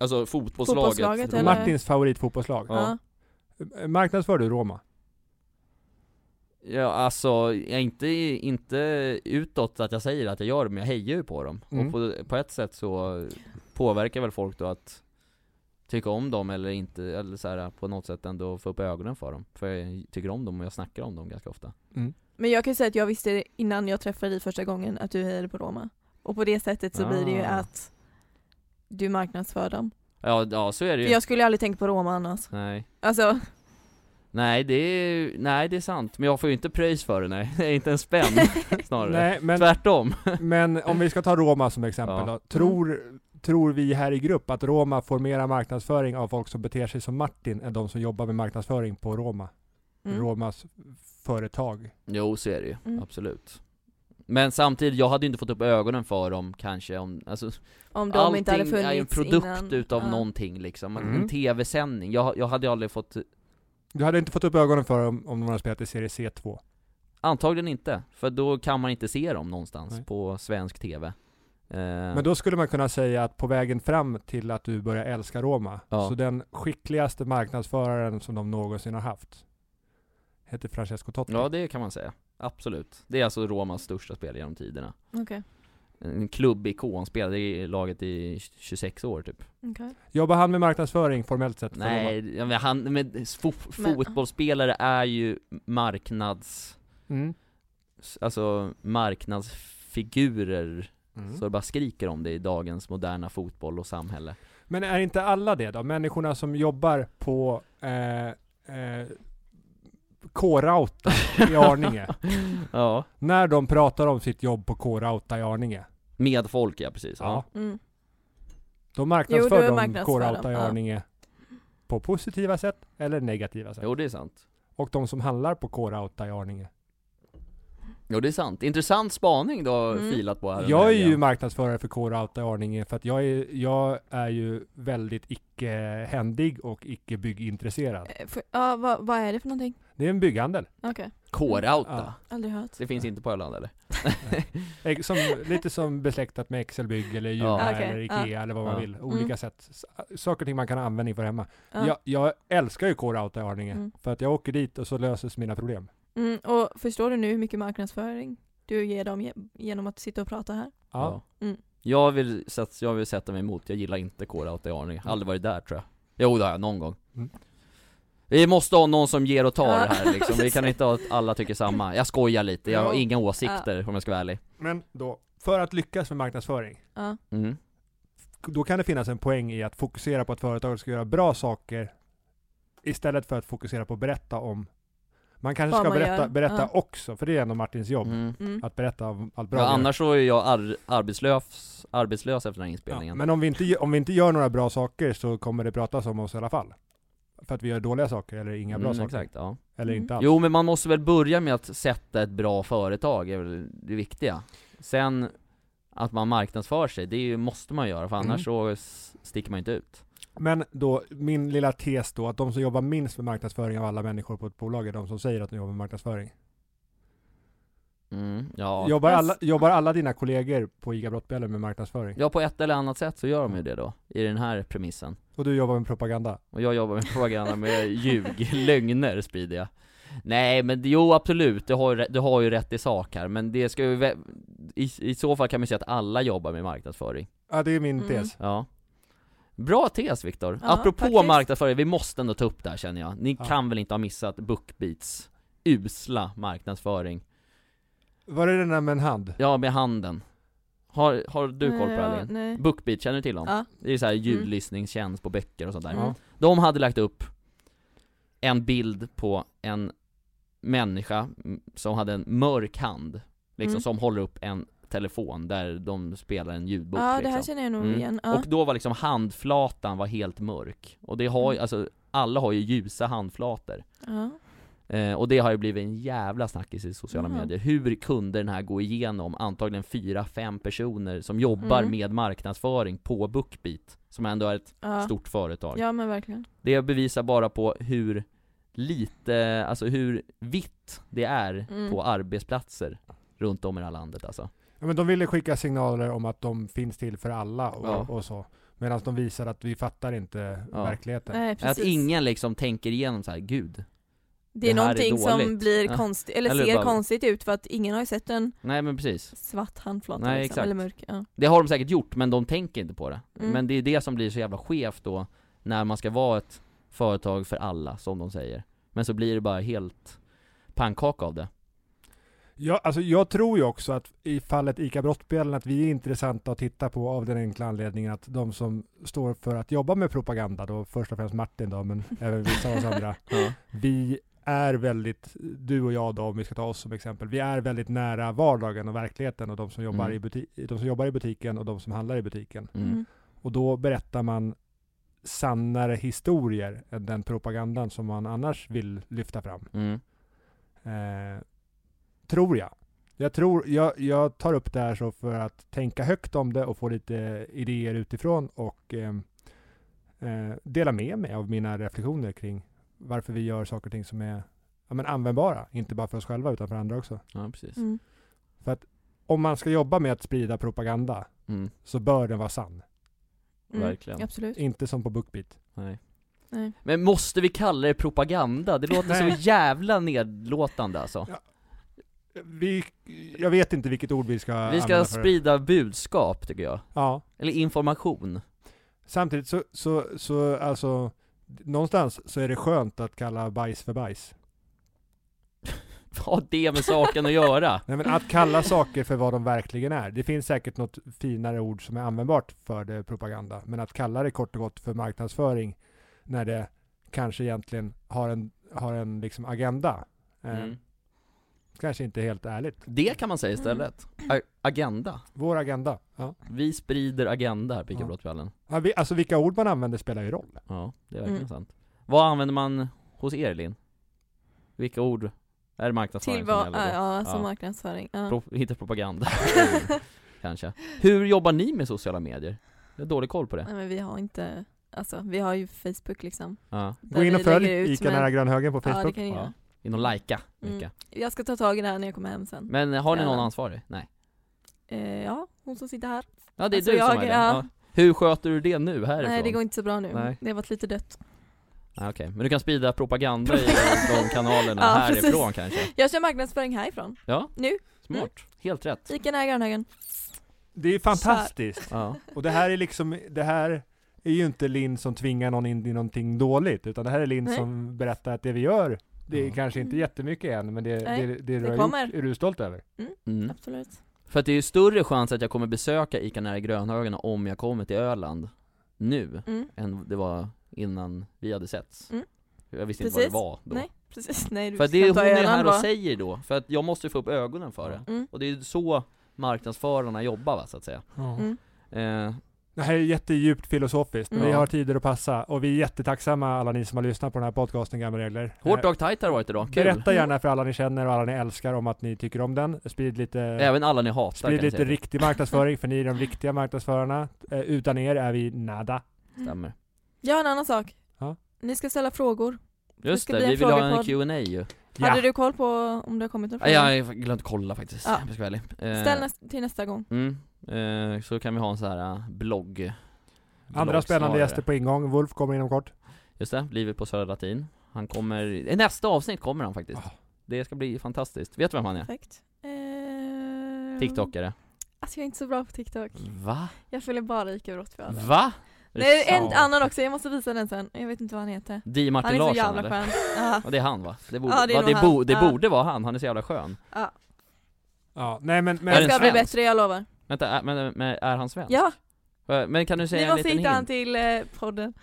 [SPEAKER 2] Alltså fotbollslaget.
[SPEAKER 3] Fotbollslaget, Eller-
[SPEAKER 1] Martins favoritfotbollslag.
[SPEAKER 2] Ja.
[SPEAKER 3] Ja.
[SPEAKER 1] Eh, Marknadsför du Roma?
[SPEAKER 2] Ja, alltså, jag är inte, inte utåt att jag säger att jag gör det, men jag hejar ju på dem.
[SPEAKER 1] Mm.
[SPEAKER 2] Och på, på ett sätt så påverkar väl folk då att tycka om dem eller inte, eller så här, på något sätt ändå få upp ögonen för dem. För jag tycker om dem och jag snackar om dem ganska ofta.
[SPEAKER 3] Men jag kan ju säga att jag visste innan jag träffade dig första gången att du hejade på Roma. Och på det sättet så blir det ju
[SPEAKER 2] Ah.
[SPEAKER 3] att du marknadsför dem.
[SPEAKER 2] Ja, ja så är det
[SPEAKER 3] För
[SPEAKER 2] ju.
[SPEAKER 3] jag skulle ju aldrig tänkt på Roma annars.
[SPEAKER 2] Nej.
[SPEAKER 3] Alltså,
[SPEAKER 2] Nej det är, nej det är sant, men jag får ju inte pröjs för det, nej. <laughs> Det är inte en spänn,
[SPEAKER 1] <laughs>
[SPEAKER 2] snarare.
[SPEAKER 1] Nej,
[SPEAKER 2] <laughs>
[SPEAKER 1] men,
[SPEAKER 2] Tvärtom.
[SPEAKER 1] men om vi ska ta Roma som exempel
[SPEAKER 2] Ja.
[SPEAKER 1] då. Tror, tror vi här i grupp att Roma får mera marknadsföring av folk som beter sig som Martin än de som jobbar med marknadsföring på Roma?
[SPEAKER 3] <laughs> mm.
[SPEAKER 1] Romas företag.
[SPEAKER 2] Jo, så är det ju,
[SPEAKER 3] Mm.
[SPEAKER 2] absolut Men samtidigt, jag hade ju inte fått upp ögonen för dem kanske om, alltså,
[SPEAKER 3] om de
[SPEAKER 2] allting
[SPEAKER 3] inte hade funnits
[SPEAKER 2] är ju en produkt
[SPEAKER 3] innan.
[SPEAKER 2] utav
[SPEAKER 3] Ja.
[SPEAKER 2] någonting liksom,
[SPEAKER 1] Mm.
[SPEAKER 2] en tv-sändning, jag, jag hade ju aldrig fått,
[SPEAKER 1] Du hade inte fått upp ögonen för om, om de hade spelat i serie C2.
[SPEAKER 2] antagligen inte, för då kan man inte se dem någonstans
[SPEAKER 1] Nej.
[SPEAKER 2] på svensk tv eh,
[SPEAKER 1] Men då skulle man kunna säga att på vägen fram till att du börjar älska Roma,
[SPEAKER 2] Ja.
[SPEAKER 1] så den skickligaste marknadsföraren som de någonsin har haft, heter Francesco Totti.
[SPEAKER 2] Ja det kan man säga, absolut Det är alltså Romas största spel genom tiderna
[SPEAKER 3] Okej.
[SPEAKER 2] En klubbikon, spelade i laget i 26 år typ
[SPEAKER 3] Okej.
[SPEAKER 1] Jobbar han med marknadsföring formellt sett? för Roma?
[SPEAKER 2] Nej, ja, men han, men, fo-
[SPEAKER 3] Men-
[SPEAKER 2] fotbollsspelare är ju marknads...
[SPEAKER 1] Mm.
[SPEAKER 2] s- alltså marknadsfigurer
[SPEAKER 1] Mm.
[SPEAKER 2] så det bara skriker om det i dagens moderna fotboll och samhälle.
[SPEAKER 1] Men är inte alla det då? Människorna som jobbar på eh, eh, K-Rauta i
[SPEAKER 2] <laughs>
[SPEAKER 1] Arninge.
[SPEAKER 2] Ja.
[SPEAKER 1] När de pratar om sitt jobb på K-Rauta i Arninge,
[SPEAKER 2] Med folk ja, precis.
[SPEAKER 1] Ja.
[SPEAKER 2] Ja.
[SPEAKER 3] Mm.
[SPEAKER 1] då
[SPEAKER 3] Jo, då
[SPEAKER 1] marknadsför
[SPEAKER 3] är
[SPEAKER 1] de
[SPEAKER 3] marknadsför
[SPEAKER 1] K-Rauta i
[SPEAKER 3] de, ja.
[SPEAKER 1] Arninge på positiva sätt eller negativa sätt.
[SPEAKER 2] Jo det är sant.
[SPEAKER 1] Och de som handlar på K-Rauta i Arninge.
[SPEAKER 2] Jo det är sant. Intressant spaning du har
[SPEAKER 3] Mm.
[SPEAKER 2] filat på här. den här
[SPEAKER 1] Jag är ju
[SPEAKER 2] igen.
[SPEAKER 1] marknadsförare för K-Rauta i Arninge för att jag är, jag är ju väldigt icke-händig och icke-byggintresserad.
[SPEAKER 3] Eh, för- Ja, vad, vad är det för någonting?
[SPEAKER 1] Det är en bygghandel.
[SPEAKER 3] Okej,
[SPEAKER 2] K-Rauta.
[SPEAKER 1] Ja.
[SPEAKER 3] aldrig hört.
[SPEAKER 2] Det finns inte på Öland eller?
[SPEAKER 1] Eh, Som, lite som besläktat med Excelbygg eller Jula
[SPEAKER 2] Ja.
[SPEAKER 3] Okej,
[SPEAKER 1] eller
[SPEAKER 3] ja.
[SPEAKER 1] Ikea eller vad man
[SPEAKER 2] Ja.
[SPEAKER 1] vill. Olika
[SPEAKER 3] Mm.
[SPEAKER 1] sätt. S- Saker och ting man kan ha användning för hemma.
[SPEAKER 3] Ja.
[SPEAKER 1] Jag, jag älskar ju K-Rauta i Arninge
[SPEAKER 3] Mm.
[SPEAKER 1] för att jag åker dit och så löses mina problem.
[SPEAKER 3] Mm, och förstår du nu hur mycket marknadsföring du ger dem ge- genom att sitta och prata här?
[SPEAKER 1] Ja.
[SPEAKER 3] Mm.
[SPEAKER 2] Jag, vill sätta, jag vill sätta mig emot, jag gillar inte K-Rauta i Arninge. Aldrig varit där tror jag. Jo det har jag, någon gång.
[SPEAKER 1] Mm.
[SPEAKER 2] Vi måste ha någon som ger och tar
[SPEAKER 3] Ja.
[SPEAKER 2] här liksom. Vi kan inte ha att alla tycker samma. Jag skojar lite, jag har
[SPEAKER 1] Ja.
[SPEAKER 2] inga åsikter om jag ska vara ärlig.
[SPEAKER 1] Men då, för att lyckas med marknadsföring,
[SPEAKER 3] Ja.
[SPEAKER 2] Mm.
[SPEAKER 1] då kan det finnas en poäng i att fokusera på att företaget ska göra bra saker istället för att fokusera på att berätta om man kanske
[SPEAKER 3] Vad
[SPEAKER 1] ska
[SPEAKER 3] man
[SPEAKER 1] berätta,
[SPEAKER 3] gör.
[SPEAKER 1] berätta
[SPEAKER 3] Ja.
[SPEAKER 1] också, för det är ändå Martins jobb.
[SPEAKER 2] Mm.
[SPEAKER 3] Mm.
[SPEAKER 1] Att berätta om allt bra
[SPEAKER 2] Ja,
[SPEAKER 1] vi gör.
[SPEAKER 2] annars så är jag ar- arbetslös, arbetslös efter den här
[SPEAKER 1] Ja,
[SPEAKER 2] inspelningen.
[SPEAKER 1] men om vi, inte, ge- om vi inte gör några bra saker så kommer det pratas om oss i alla fall. För att vi gör dåliga saker eller inga bra
[SPEAKER 2] Mm,
[SPEAKER 1] saker.
[SPEAKER 2] exakt, ja.
[SPEAKER 1] Eller
[SPEAKER 3] Mm.
[SPEAKER 1] inte alls.
[SPEAKER 2] Jo men man måste väl börja med att sätta ett bra företag, är väl det viktiga. Sen, att man marknadsför sig, det är ju- måste man göra, för annars
[SPEAKER 1] Mm.
[SPEAKER 2] så s- sticker man inte ut.
[SPEAKER 1] Men då, min lilla tes då, att de som jobbar minst med marknadsföring av alla människor på ett bolag är de som säger att de jobbar med marknadsföring.
[SPEAKER 2] Mm, ja.
[SPEAKER 1] Jobbar,
[SPEAKER 3] Fast-
[SPEAKER 1] alla, jobbar alla dina kollegor på ICA Brottbjällen med marknadsföring?
[SPEAKER 2] ja, på ett eller annat sätt så gör de ju det då, i den här premissen.
[SPEAKER 1] Och du jobbar med propaganda?
[SPEAKER 2] Och jag jobbar med propaganda med ljug, lögner sprider jag Nej men det- jo absolut, du har, ju rä- du har ju rätt i sak här, men det ska ju vä- i, i så fall kan man säga att alla jobbar med marknadsföring.
[SPEAKER 1] Ja, det är min
[SPEAKER 3] Mm.
[SPEAKER 1] tes.
[SPEAKER 2] Ja. Bra tes Viktor.
[SPEAKER 3] Ja,
[SPEAKER 2] Apropå
[SPEAKER 3] faktiskt.
[SPEAKER 2] marknadsföring, vi måste ändå ta upp det här känner jag. Ni
[SPEAKER 1] Ja.
[SPEAKER 2] kan väl inte ha missat BookBeats usla marknadsföring?
[SPEAKER 1] Var är den där med en hand?
[SPEAKER 2] Ja, med handen. Har, har du koll på det här
[SPEAKER 3] ja,
[SPEAKER 2] Linn?
[SPEAKER 3] Nej.
[SPEAKER 2] BookBeat, känner du till dem?
[SPEAKER 3] Eh, Ja.
[SPEAKER 2] Det är så här ljudlyssningstjänst på böcker och sånt där.
[SPEAKER 3] Mm.
[SPEAKER 2] De hade lagt upp en bild på en människa mm, som hade en mörk hand, liksom
[SPEAKER 3] Mm.
[SPEAKER 2] som håller upp en telefon där de spelar en ljudbok
[SPEAKER 3] Ja, det
[SPEAKER 2] liksom.
[SPEAKER 3] här känner jag nog
[SPEAKER 2] Mm.
[SPEAKER 3] igen. Ja.
[SPEAKER 2] Och då var liksom handflatan var helt mörk. Och det
[SPEAKER 3] Mm.
[SPEAKER 2] har ju, alltså alla har ju ljusa handflator.
[SPEAKER 3] ja.
[SPEAKER 2] Eh, och det har ju blivit en jävla snackis i sociala
[SPEAKER 3] Ja.
[SPEAKER 2] medier. Hur kunde den här gå igenom antagligen fyra, fem personer som jobbar
[SPEAKER 3] Mm.
[SPEAKER 2] med marknadsföring på BookBeat, som ändå är ett
[SPEAKER 3] Ja.
[SPEAKER 2] stort företag.
[SPEAKER 3] ja, men verkligen.
[SPEAKER 2] Det bevisar bara på hur lite, alltså hur vitt det är
[SPEAKER 3] Mm.
[SPEAKER 2] på arbetsplatser runt om i det här landet alltså.
[SPEAKER 1] Ja, men de ville skicka signaler om att de finns till för alla och,
[SPEAKER 2] Ja.
[SPEAKER 1] och så. Medan de visar att vi fattar inte
[SPEAKER 2] Ja.
[SPEAKER 1] verkligheten.
[SPEAKER 3] Nej,
[SPEAKER 2] Att
[SPEAKER 3] precis.
[SPEAKER 2] ingen liksom tänker igenom så här, gud.
[SPEAKER 3] det är
[SPEAKER 2] det här är
[SPEAKER 3] någonting som
[SPEAKER 2] dåligt. Ja.
[SPEAKER 3] blir konstigt, eller,
[SPEAKER 2] Eller
[SPEAKER 3] ser
[SPEAKER 2] bara-
[SPEAKER 3] konstigt ut för att ingen har ju sett en
[SPEAKER 2] Nej men precis.
[SPEAKER 3] svart handflata
[SPEAKER 2] Nej,
[SPEAKER 3] liksom,
[SPEAKER 2] exakt.
[SPEAKER 3] eller mörk. Ja.
[SPEAKER 2] Det har de säkert gjort, men de tänker inte på det.
[SPEAKER 3] Mm.
[SPEAKER 2] Men det är det som blir så jävla skevt då, när man ska vara ett företag för alla, som de säger. Men så blir det bara helt pannkaka av det.
[SPEAKER 1] Ja, alltså jag tror ju också att i fallet ICA Brottbjällen att vi är intressanta att titta på av den enkla anledningen att de som står för att jobba med propaganda, då först och främst Martin då,
[SPEAKER 2] <laughs>
[SPEAKER 1] men även vissa av oss andra,
[SPEAKER 2] Ja.
[SPEAKER 1] vi är väldigt, du och jag då om vi ska ta oss som exempel, vi är väldigt nära vardagen och verkligheten och de som jobbar,
[SPEAKER 2] Mm.
[SPEAKER 1] i, buti- de som jobbar i butiken och de som handlar i butiken.
[SPEAKER 2] Mm.
[SPEAKER 3] Mm.
[SPEAKER 1] Och då berättar man sannare historier än den propagandan som man annars vill lyfta fram.
[SPEAKER 2] Mm.
[SPEAKER 1] Eh, tror jag. Jag, tror, jag. jag tar upp det här så för att tänka högt om det och få lite idéer utifrån och ehm, eh, dela med mig av mina reflektioner kring varför vi gör saker och ting som är ja, men användbara, inte bara för oss själva utan för andra också.
[SPEAKER 2] ja, precis.
[SPEAKER 3] Mm.
[SPEAKER 1] Om man ska jobba med att sprida propaganda
[SPEAKER 2] Mm.
[SPEAKER 1] så bör den vara sann,
[SPEAKER 3] Mm.
[SPEAKER 2] Verkligen.
[SPEAKER 3] Absolut.
[SPEAKER 1] inte som på BookBeat.
[SPEAKER 2] Nej.
[SPEAKER 3] Nej.
[SPEAKER 2] Men måste vi kalla det propaganda? Det låter så
[SPEAKER 1] Nej.
[SPEAKER 2] jävla nedlåtande alltså.
[SPEAKER 1] Vi, jag vet inte vilket ord vi ska
[SPEAKER 2] Vi ska
[SPEAKER 1] använda för det.
[SPEAKER 2] sprida budskap, tycker jag.
[SPEAKER 1] Ja.
[SPEAKER 2] Eller information. <laughs>
[SPEAKER 1] Samtidigt så, så, så alltså, någonstans så är det skönt att kalla bajs för bajs.
[SPEAKER 2] Vad har det med saken
[SPEAKER 1] <laughs>
[SPEAKER 2] att göra?
[SPEAKER 1] Nej, men att
[SPEAKER 3] <laughs>
[SPEAKER 1] kalla saker för vad de verkligen är. Det finns säkert något finare ord som är användbart för det propaganda, men att kalla det kort och gott för marknadsföring när det kanske egentligen har en, har en liksom agenda. Eh,
[SPEAKER 2] Mm.
[SPEAKER 1] Kanske inte helt ärligt.
[SPEAKER 2] Det kan man säga istället. A- agenda.
[SPEAKER 1] Vår agenda. Ja.
[SPEAKER 2] Vi sprider agenda här på
[SPEAKER 1] Ja.
[SPEAKER 2] Ica-brottskvällen.
[SPEAKER 1] Ja, vi- Alltså vilka ord man använder spelar ju roll.
[SPEAKER 2] Ja, det är verkligen
[SPEAKER 3] Mm.
[SPEAKER 2] sant. Vad använder man hos er Linn? Vilka ord är marknadsföring
[SPEAKER 3] Till vad,
[SPEAKER 2] som gäller då?
[SPEAKER 3] ja, som
[SPEAKER 2] Ja.
[SPEAKER 3] marknadsföring. Ja. <laughs>
[SPEAKER 2] Pro- inte propaganda, <laughs> kanske. Hur jobbar ni med sociala medier? Jag har dålig koll på det.
[SPEAKER 3] Nej men vi har inte, alltså vi har ju Facebook liksom.
[SPEAKER 2] Ja.
[SPEAKER 1] Gå in och
[SPEAKER 3] vi
[SPEAKER 1] följ
[SPEAKER 3] lägger ut,
[SPEAKER 1] ICA
[SPEAKER 3] men-
[SPEAKER 1] nära grönhögen på
[SPEAKER 3] Ja det
[SPEAKER 1] Facebook.
[SPEAKER 3] kan jag
[SPEAKER 2] Ja.
[SPEAKER 3] göra.
[SPEAKER 2] In och lajka
[SPEAKER 3] Mm.
[SPEAKER 2] mycket.
[SPEAKER 3] Jag ska ta tag i det här när jag kommer hem sen.
[SPEAKER 2] Men har ni någon
[SPEAKER 3] Ja.
[SPEAKER 2] ansvarig? Nej.
[SPEAKER 3] Eh, ja, hon som sitter här.
[SPEAKER 2] Ja det är
[SPEAKER 3] Alltså,
[SPEAKER 2] du som
[SPEAKER 3] jag-
[SPEAKER 2] är det.
[SPEAKER 3] ja.
[SPEAKER 2] Ja. Hur sköter du det nu härifrån?
[SPEAKER 3] Nej det går inte så bra nu.
[SPEAKER 2] Nej.
[SPEAKER 3] Det har varit lite dött.
[SPEAKER 2] ah, Okej, men du kan sprida propaganda i de kanalerna
[SPEAKER 3] <laughs> Ja,
[SPEAKER 2] härifrån
[SPEAKER 3] precis.
[SPEAKER 2] kanske?
[SPEAKER 3] Jag kör marknadsföring härifrån.
[SPEAKER 2] Ja,
[SPEAKER 3] Nu. Mm.
[SPEAKER 2] smart. Helt rätt.
[SPEAKER 3] Ica nära Grönhögen.
[SPEAKER 1] Det är fantastiskt.
[SPEAKER 2] Ja.
[SPEAKER 1] Och det här är liksom, det här är ju inte Linn som tvingar någon in i någonting dåligt, utan det här är Linn
[SPEAKER 3] Nej.
[SPEAKER 1] som berättar att det vi gör, det är
[SPEAKER 2] Ja.
[SPEAKER 1] kanske inte
[SPEAKER 3] Mm.
[SPEAKER 1] jättemycket än, men det,
[SPEAKER 3] Nej,
[SPEAKER 1] det, det, du har
[SPEAKER 3] kommer.
[SPEAKER 1] gjort är du stolt över.
[SPEAKER 2] Mm.
[SPEAKER 3] Absolut.
[SPEAKER 2] För att det är ju större chans att jag kommer besöka ICA nära Grönhagen om jag kommer till Öland nu
[SPEAKER 3] Mm.
[SPEAKER 2] än det var innan vi hade setts.
[SPEAKER 3] Mm.
[SPEAKER 2] Jag visste
[SPEAKER 3] Precis.
[SPEAKER 2] inte vad det var då.
[SPEAKER 3] Nej, precis. <laughs> Nej, du
[SPEAKER 2] För att det är
[SPEAKER 3] kan
[SPEAKER 2] hon
[SPEAKER 3] ta
[SPEAKER 2] är
[SPEAKER 3] ölen
[SPEAKER 2] här och
[SPEAKER 3] bara.
[SPEAKER 2] säger då, för att jag måste få upp ögonen för det.
[SPEAKER 3] Mm.
[SPEAKER 2] Och det är ju så marknadsförarna jobbar va, så att säga.
[SPEAKER 3] Mm.
[SPEAKER 2] Eh,
[SPEAKER 1] Det här är jättedjupt filosofiskt, men
[SPEAKER 2] Mm.
[SPEAKER 1] vi
[SPEAKER 2] Ja.
[SPEAKER 1] har tider att passa och vi är jättetacksamma alla ni som har lyssnat på den här podcasten Gamla Regler.
[SPEAKER 2] hårt
[SPEAKER 1] Eh,
[SPEAKER 2] och tight har det varit idag, kul!
[SPEAKER 1] Berätta gärna för alla ni känner och alla ni älskar om att ni tycker om den. Sprid lite,
[SPEAKER 2] Även alla ni hatar
[SPEAKER 1] sprid
[SPEAKER 2] kan jag
[SPEAKER 1] lite
[SPEAKER 2] säga.
[SPEAKER 1] riktig marknadsföring, för ni är de riktiga marknadsförarna. Eh, utan er är vi nada.
[SPEAKER 2] Stämmer.
[SPEAKER 3] Jag har en annan sak.
[SPEAKER 1] Ja.
[SPEAKER 3] Ni ska ställa frågor.
[SPEAKER 2] Just
[SPEAKER 3] ska
[SPEAKER 2] det,
[SPEAKER 3] bli
[SPEAKER 2] vi
[SPEAKER 3] en
[SPEAKER 2] vill ha en
[SPEAKER 3] frågepodd.
[SPEAKER 2] Q&A ju.
[SPEAKER 1] Ja.
[SPEAKER 3] Hade du koll på om det har kommit några
[SPEAKER 2] Ah,
[SPEAKER 3] frågor?
[SPEAKER 2] jag har glömt kolla faktiskt,
[SPEAKER 3] Ja.
[SPEAKER 2] om jag ska vara ärlig. Eh,
[SPEAKER 3] Ställ näst, till nästa gång.
[SPEAKER 2] mm, eh, Så kan vi ha en sån här eh, blogg
[SPEAKER 1] Andra spännande
[SPEAKER 2] blogg snarare.
[SPEAKER 1] gäster på ingång. Wolf kommer inom kort.
[SPEAKER 2] Just det, Livet på Södra Latin. Han kommer, i nästa avsnitt kommer han faktiskt.
[SPEAKER 1] Ah.
[SPEAKER 3] Mm.
[SPEAKER 2] Det ska bli fantastiskt. Vet du vem han är?
[SPEAKER 3] Perfekt. Eh,
[SPEAKER 2] TikTokare.
[SPEAKER 3] Alltså jag är inte så bra på TikTok.
[SPEAKER 2] Va?
[SPEAKER 3] Jag följer bara Ike Brottfjärden.
[SPEAKER 2] Va? Är det
[SPEAKER 3] Nej, en
[SPEAKER 2] sant?
[SPEAKER 3] annan också, jag måste visa den sen. Jag vet inte vad han heter.
[SPEAKER 2] Di
[SPEAKER 3] Han
[SPEAKER 2] Martin
[SPEAKER 3] är så
[SPEAKER 2] Larsson
[SPEAKER 3] jävla
[SPEAKER 2] eller? <laughs>
[SPEAKER 3] skön. Ja,
[SPEAKER 2] Ja, det är han va? Det borde,
[SPEAKER 3] Ja, det
[SPEAKER 2] det
[SPEAKER 3] är nog
[SPEAKER 2] det
[SPEAKER 3] han.
[SPEAKER 2] bo, det
[SPEAKER 3] Ja.
[SPEAKER 2] borde vara han, han är så jävla skön
[SPEAKER 3] ja.
[SPEAKER 1] Ja, nej men,
[SPEAKER 2] Är det
[SPEAKER 1] men
[SPEAKER 3] Jag
[SPEAKER 2] en
[SPEAKER 3] ska bli
[SPEAKER 2] svensk?
[SPEAKER 3] bättre, jag lovar.
[SPEAKER 2] Vänta, är, men, men är han svensk?
[SPEAKER 3] Ja,
[SPEAKER 2] Eh, Men kan du säga
[SPEAKER 3] ni
[SPEAKER 2] en
[SPEAKER 3] måste
[SPEAKER 2] liten
[SPEAKER 3] hitta han
[SPEAKER 2] hint?
[SPEAKER 3] till eh, podden.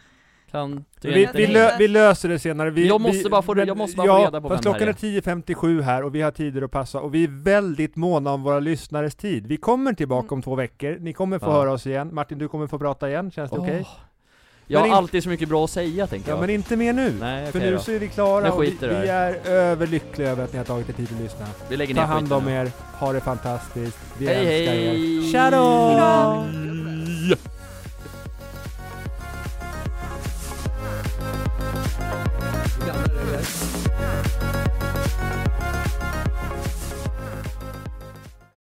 [SPEAKER 2] Kan du ge en
[SPEAKER 1] vi,
[SPEAKER 2] liten
[SPEAKER 1] vi,
[SPEAKER 2] hint?
[SPEAKER 1] lö, vi löser det senare. Vi,
[SPEAKER 2] Jag måste
[SPEAKER 1] vi,
[SPEAKER 2] bara få-
[SPEAKER 1] men-
[SPEAKER 2] jag måste bara
[SPEAKER 1] ja,
[SPEAKER 2] få reda på
[SPEAKER 1] fast
[SPEAKER 2] vem det här
[SPEAKER 1] klockan är 10.57 här och vi har tider att passa och vi är väldigt måna om våra lyssnares tid. Vi kommer tillbaka om två veckor. Ni kommer få
[SPEAKER 2] Mm. Ja.
[SPEAKER 1] höra oss igen. Martin, du kommer få prata igen. Känns det
[SPEAKER 2] Åh.
[SPEAKER 1] okej?
[SPEAKER 2] Jag
[SPEAKER 1] Men
[SPEAKER 2] har
[SPEAKER 1] in-
[SPEAKER 2] alltid så mycket bra att säga tänker
[SPEAKER 1] Ja,
[SPEAKER 2] jag
[SPEAKER 1] men inte mer nu.
[SPEAKER 2] Nej
[SPEAKER 1] För
[SPEAKER 2] okej
[SPEAKER 1] nu
[SPEAKER 2] då,
[SPEAKER 1] så är vi klara
[SPEAKER 2] Nu
[SPEAKER 1] och vi,
[SPEAKER 2] skiter det här.
[SPEAKER 1] vi är överlyckliga över att ni har tagit er tid att lyssna.
[SPEAKER 2] vi lägger
[SPEAKER 1] Ta
[SPEAKER 2] ner
[SPEAKER 1] hand
[SPEAKER 2] skiten
[SPEAKER 1] om
[SPEAKER 2] nu
[SPEAKER 1] er, ha det fantastiskt, vi
[SPEAKER 2] Hej
[SPEAKER 1] älskar er.
[SPEAKER 2] hej!
[SPEAKER 1] Tja då!
[SPEAKER 2] Hejdå.